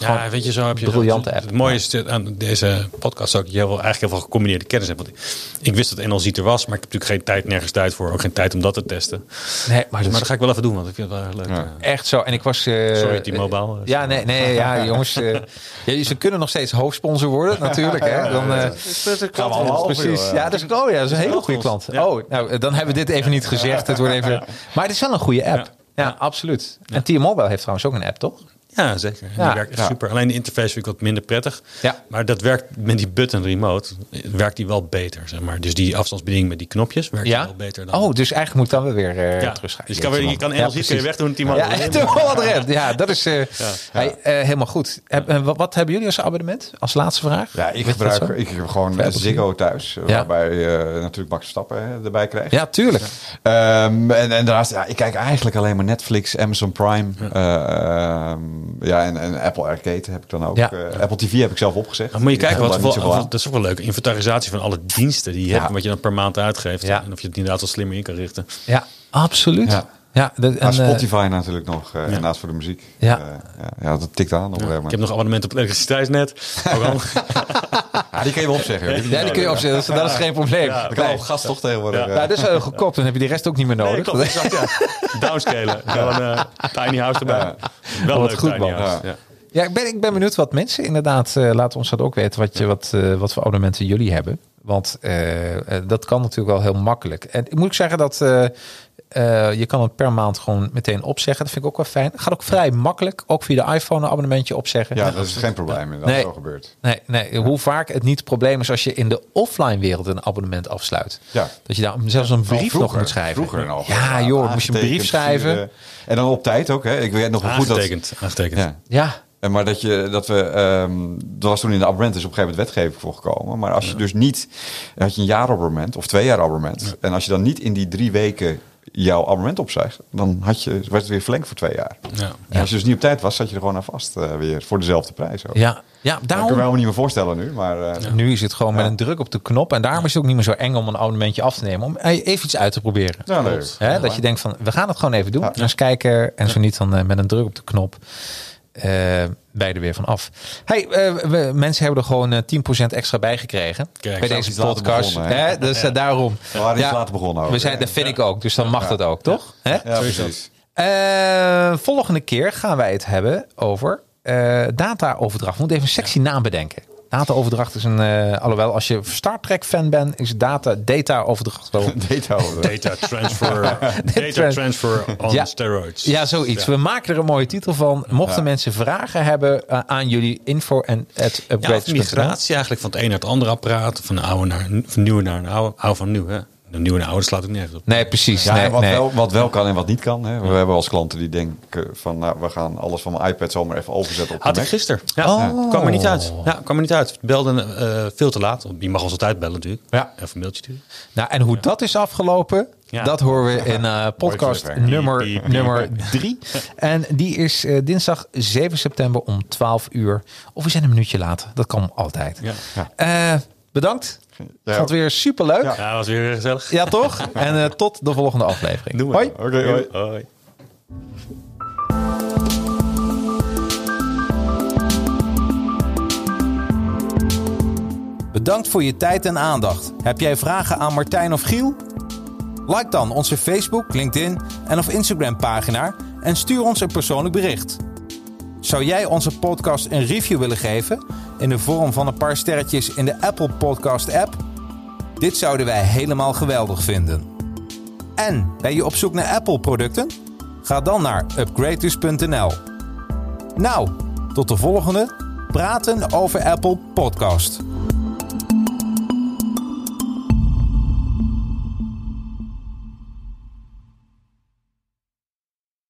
Ja.
ja, weet je, zo heb je...
briljante
het-
app.
Het mooie is dit- aan deze podcast ook, dat je heel, eigenlijk heel veel gecombineerde kennis hebt. Want ik wist dat NLZ er was, maar ik heb natuurlijk geen tijd, nergens tijd voor. Ook geen tijd om dat te testen.
Nee, maar
Maar
dat
dat
is
ga ik wel even doen, want ik vind het wel erg leuk. Ja.
echt zo. En ik was... eh,
Sorry, T-Mobile.
Ja, nee, nee, ja, jongens. eh, ja, ze kunnen nog steeds hoofdsponsor worden, natuurlijk. Hè. Dan, eh,
Gaan we allemaal over,
Precies.
joh.
Ja, dat is, oh ja, dat is een hele goede klant. Oh, nou, dan hebben we dit even niet gezegd. Het wordt even, maar het is wel een goede app. Ja, absoluut. En T-Mobile heeft trouwens ook een app, toch?
Ja, zeker. En
Ja.
die werkt echt super. Alleen de interface vind ik wat minder prettig.
Ja.
Maar dat werkt met die button remote, eh, werkt die wel beter, zeg maar. Dus die afstandsbediening met die knopjes werkt wel beter dan...
Oh, dus eigenlijk moet dan wel weer eh
ja.
terugschrijven.
Dus je kan, weer, je kan NLZ kun je wegdoen, Timo.
Ja, T-Mobile adres. Ja, dat is eh, hey, eh, helemaal goed. Heb- eh, wat, wat hebben jullie als abonnement? Als laatste vraag?
Ja, ik
Weet je dat
gebruik
zo?
ik heb gewoon
Apple
Ziggo thuis,
Ja.
waarbij je natuurlijk Max Stappen erbij krijgt.
Ja, tuurlijk.
Ehm, en, en daarnaast, ja, ik kijk eigenlijk alleen maar Netflix, Amazon Prime. Ja, ja en, en Apple Arcade heb ik dan ook.
Ja.
Eh, Apple TV heb ik zelf opgezegd.
Dan Nou, moet je
Ik heb
kijken, wat,
daar niet
wat,
zoveel aan.
dat is ook wel leuk. Inventarisatie van alle diensten die je hebt, wat je dan per maand uitgeeft.
Ja.
En of je het inderdaad wat slimmer in kan richten.
Ja, absoluut. Ja.
Ja.
Ja, dat, en,
Maar
eh,
Spotify natuurlijk nog, eh,
ja.
naast voor de muziek.
Ja.
Eh, ja, ja, dat tikt aan op. eh,
Ik
maar.
heb nog abonnement op het elektriciteitsnet. Ook allemaal.
Ah, die kun je wel opzeggen. joh. Die-
ja, die kun je opzetten. Dat is- Dat is geen probleem.
Dat kan op gas toch tegenwoordig.
Ja.
eh.
Nou, dat is wel goedkoop. Dan heb je die rest ook niet meer nodig.
Nee, klopt, exact, ja. Downscalen. Gewoon eh, tiny house erbij. Wel een
Wat
leuk
goed,
tiny
man.
house.
Ja.
Ja.
<laughs> Ja, ik ben, ik ben benieuwd wat mensen inderdaad. eh, laten ons dat ook weten. Wat, je, wat, eh, wat voor abonnementen jullie hebben. Want eh, eh, dat kan natuurlijk wel heel makkelijk. En ik moet ik zeggen dat. eh, eh, je kan het per maand gewoon meteen opzeggen. Dat vind ik ook wel fijn. Gaat ook vrij makkelijk. Ook via de iPhone een abonnementje opzeggen.
Ja, dat is geen probleem. Dat
Nee.
zo gebeurt.
Nee, nee, hoe vaak het niet het probleem is als je in de offline wereld een abonnement afsluit.
Ja.
Dat je daar zelfs een brief nog moet schrijven.
Vroeger nog.
Ja, joh, moest je een brief
Aangetekend,
schrijven.
vierde. En dan op tijd ook. Hè. Ik weet nog wel goed dat...
Aangetekend. Aangetekend.
Ja.
Ja,
En Maar dat, je, dat we, ehm dat was toen in de abonnement is op een gegeven moment wetgeving voor gekomen. Maar als je dus niet, dan had je een jaar abonnement of twee jaar abonnement. En als je dan niet in die drie weken jouw abonnement opzegt, dan had je, werd het weer verlengd voor twee jaar.
Ja.
En als je dus niet op tijd was, zat je er gewoon aan vast eh, weer voor dezelfde prijs. Ook.
ja, ja,
Dat kan ik me
daarom
helemaal niet meer voorstellen nu, maar eh,
Nu is het gewoon met een druk op de knop. En daarom is het ook niet meer zo eng om een abonnementje af te nemen. Om eh, even iets uit te proberen.
Ja, leuk.
Hè,
Ja,
dat je denkt van, we gaan het gewoon even doen. Eens kijken. En zo niet, dan eh, met een druk op de knop. eh bij er weer van af. Hey, eh, we, mensen hebben er gewoon eh, 10% extra bij gekregen.
Kijk,
bij
zo
deze
is het later
podcast.
begonnen, hè?
Hè, dus eh, daarom.
we waren iets later begonnen ook.
We zijn, dat vind ik ook. Dus dan mag dat ook, toch? Hè?
ja, precies.
Eh, volgende keer gaan wij het hebben over eh dataoverdracht. We moeten even een sexy naam bedenken. Dataoverdracht is een... eh, alhoewel, als je Star Trek fan bent, is data, data-overdracht
<laughs>
wel...
Data houden.
Data transfer. data
Trans-
transfer on
Ja.
steroids.
Ja, zoiets. We maken er een mooie titel van. Mochten mensen vragen hebben eh, aan jullie info en het
Ja, of migratie eigenlijk van het een naar het andere apparaat. Van de oude naar van nieuwe naar een oude. Oude van nieuw. Hè. De nieuwe naar oude slaat ook nergens op.
Nee, precies.
Ja,
nee,
en wat,
nee.
Wel, wat wel kan en wat niet kan. Hè. We hebben wel eens klanten die denken van... Nou, we gaan alles van mijn iPad zomaar even overzetten op de
Had ik
Mac.
gisteren. Ja,
Oh.
kwam er niet uit. Ja, kwam er niet uit. Belde eh, veel te laat. Want Je mag ons altijd bellen natuurlijk.
Ja.
Even een mailtje sturen.
Nou, en hoe dat is afgelopen,
Ja.
dat horen we in eh, podcast
cliffhanger.
nummer,
Piep, piep,
nummer drie. En die is eh, dinsdag 7 september om 12 uur. Of we zijn een minuutje later. Dat kan altijd.
Ja.
Eh, bedankt. Ik vond het
ook.
weer superleuk. Ja,
Ja.
Ja, was weer gezellig.
ja toch? En eh, tot de volgende aflevering.
Doen we.
Hoi.
Oké, hoi.
Hoi.
Bedankt voor je tijd en aandacht. Heb jij vragen aan Martijn of Giel? Like dan onze Facebook, LinkedIn en of Instagram pagina en stuur ons een persoonlijk bericht. Zou jij onze podcast een review willen geven in de vorm van een paar sterretjes in de Apple Podcast app? Dit zouden wij helemaal geweldig vinden. En ben je op zoek naar Apple producten? Ga dan naar upgraders.nl. Nou, tot de volgende Praten over Apple Podcast.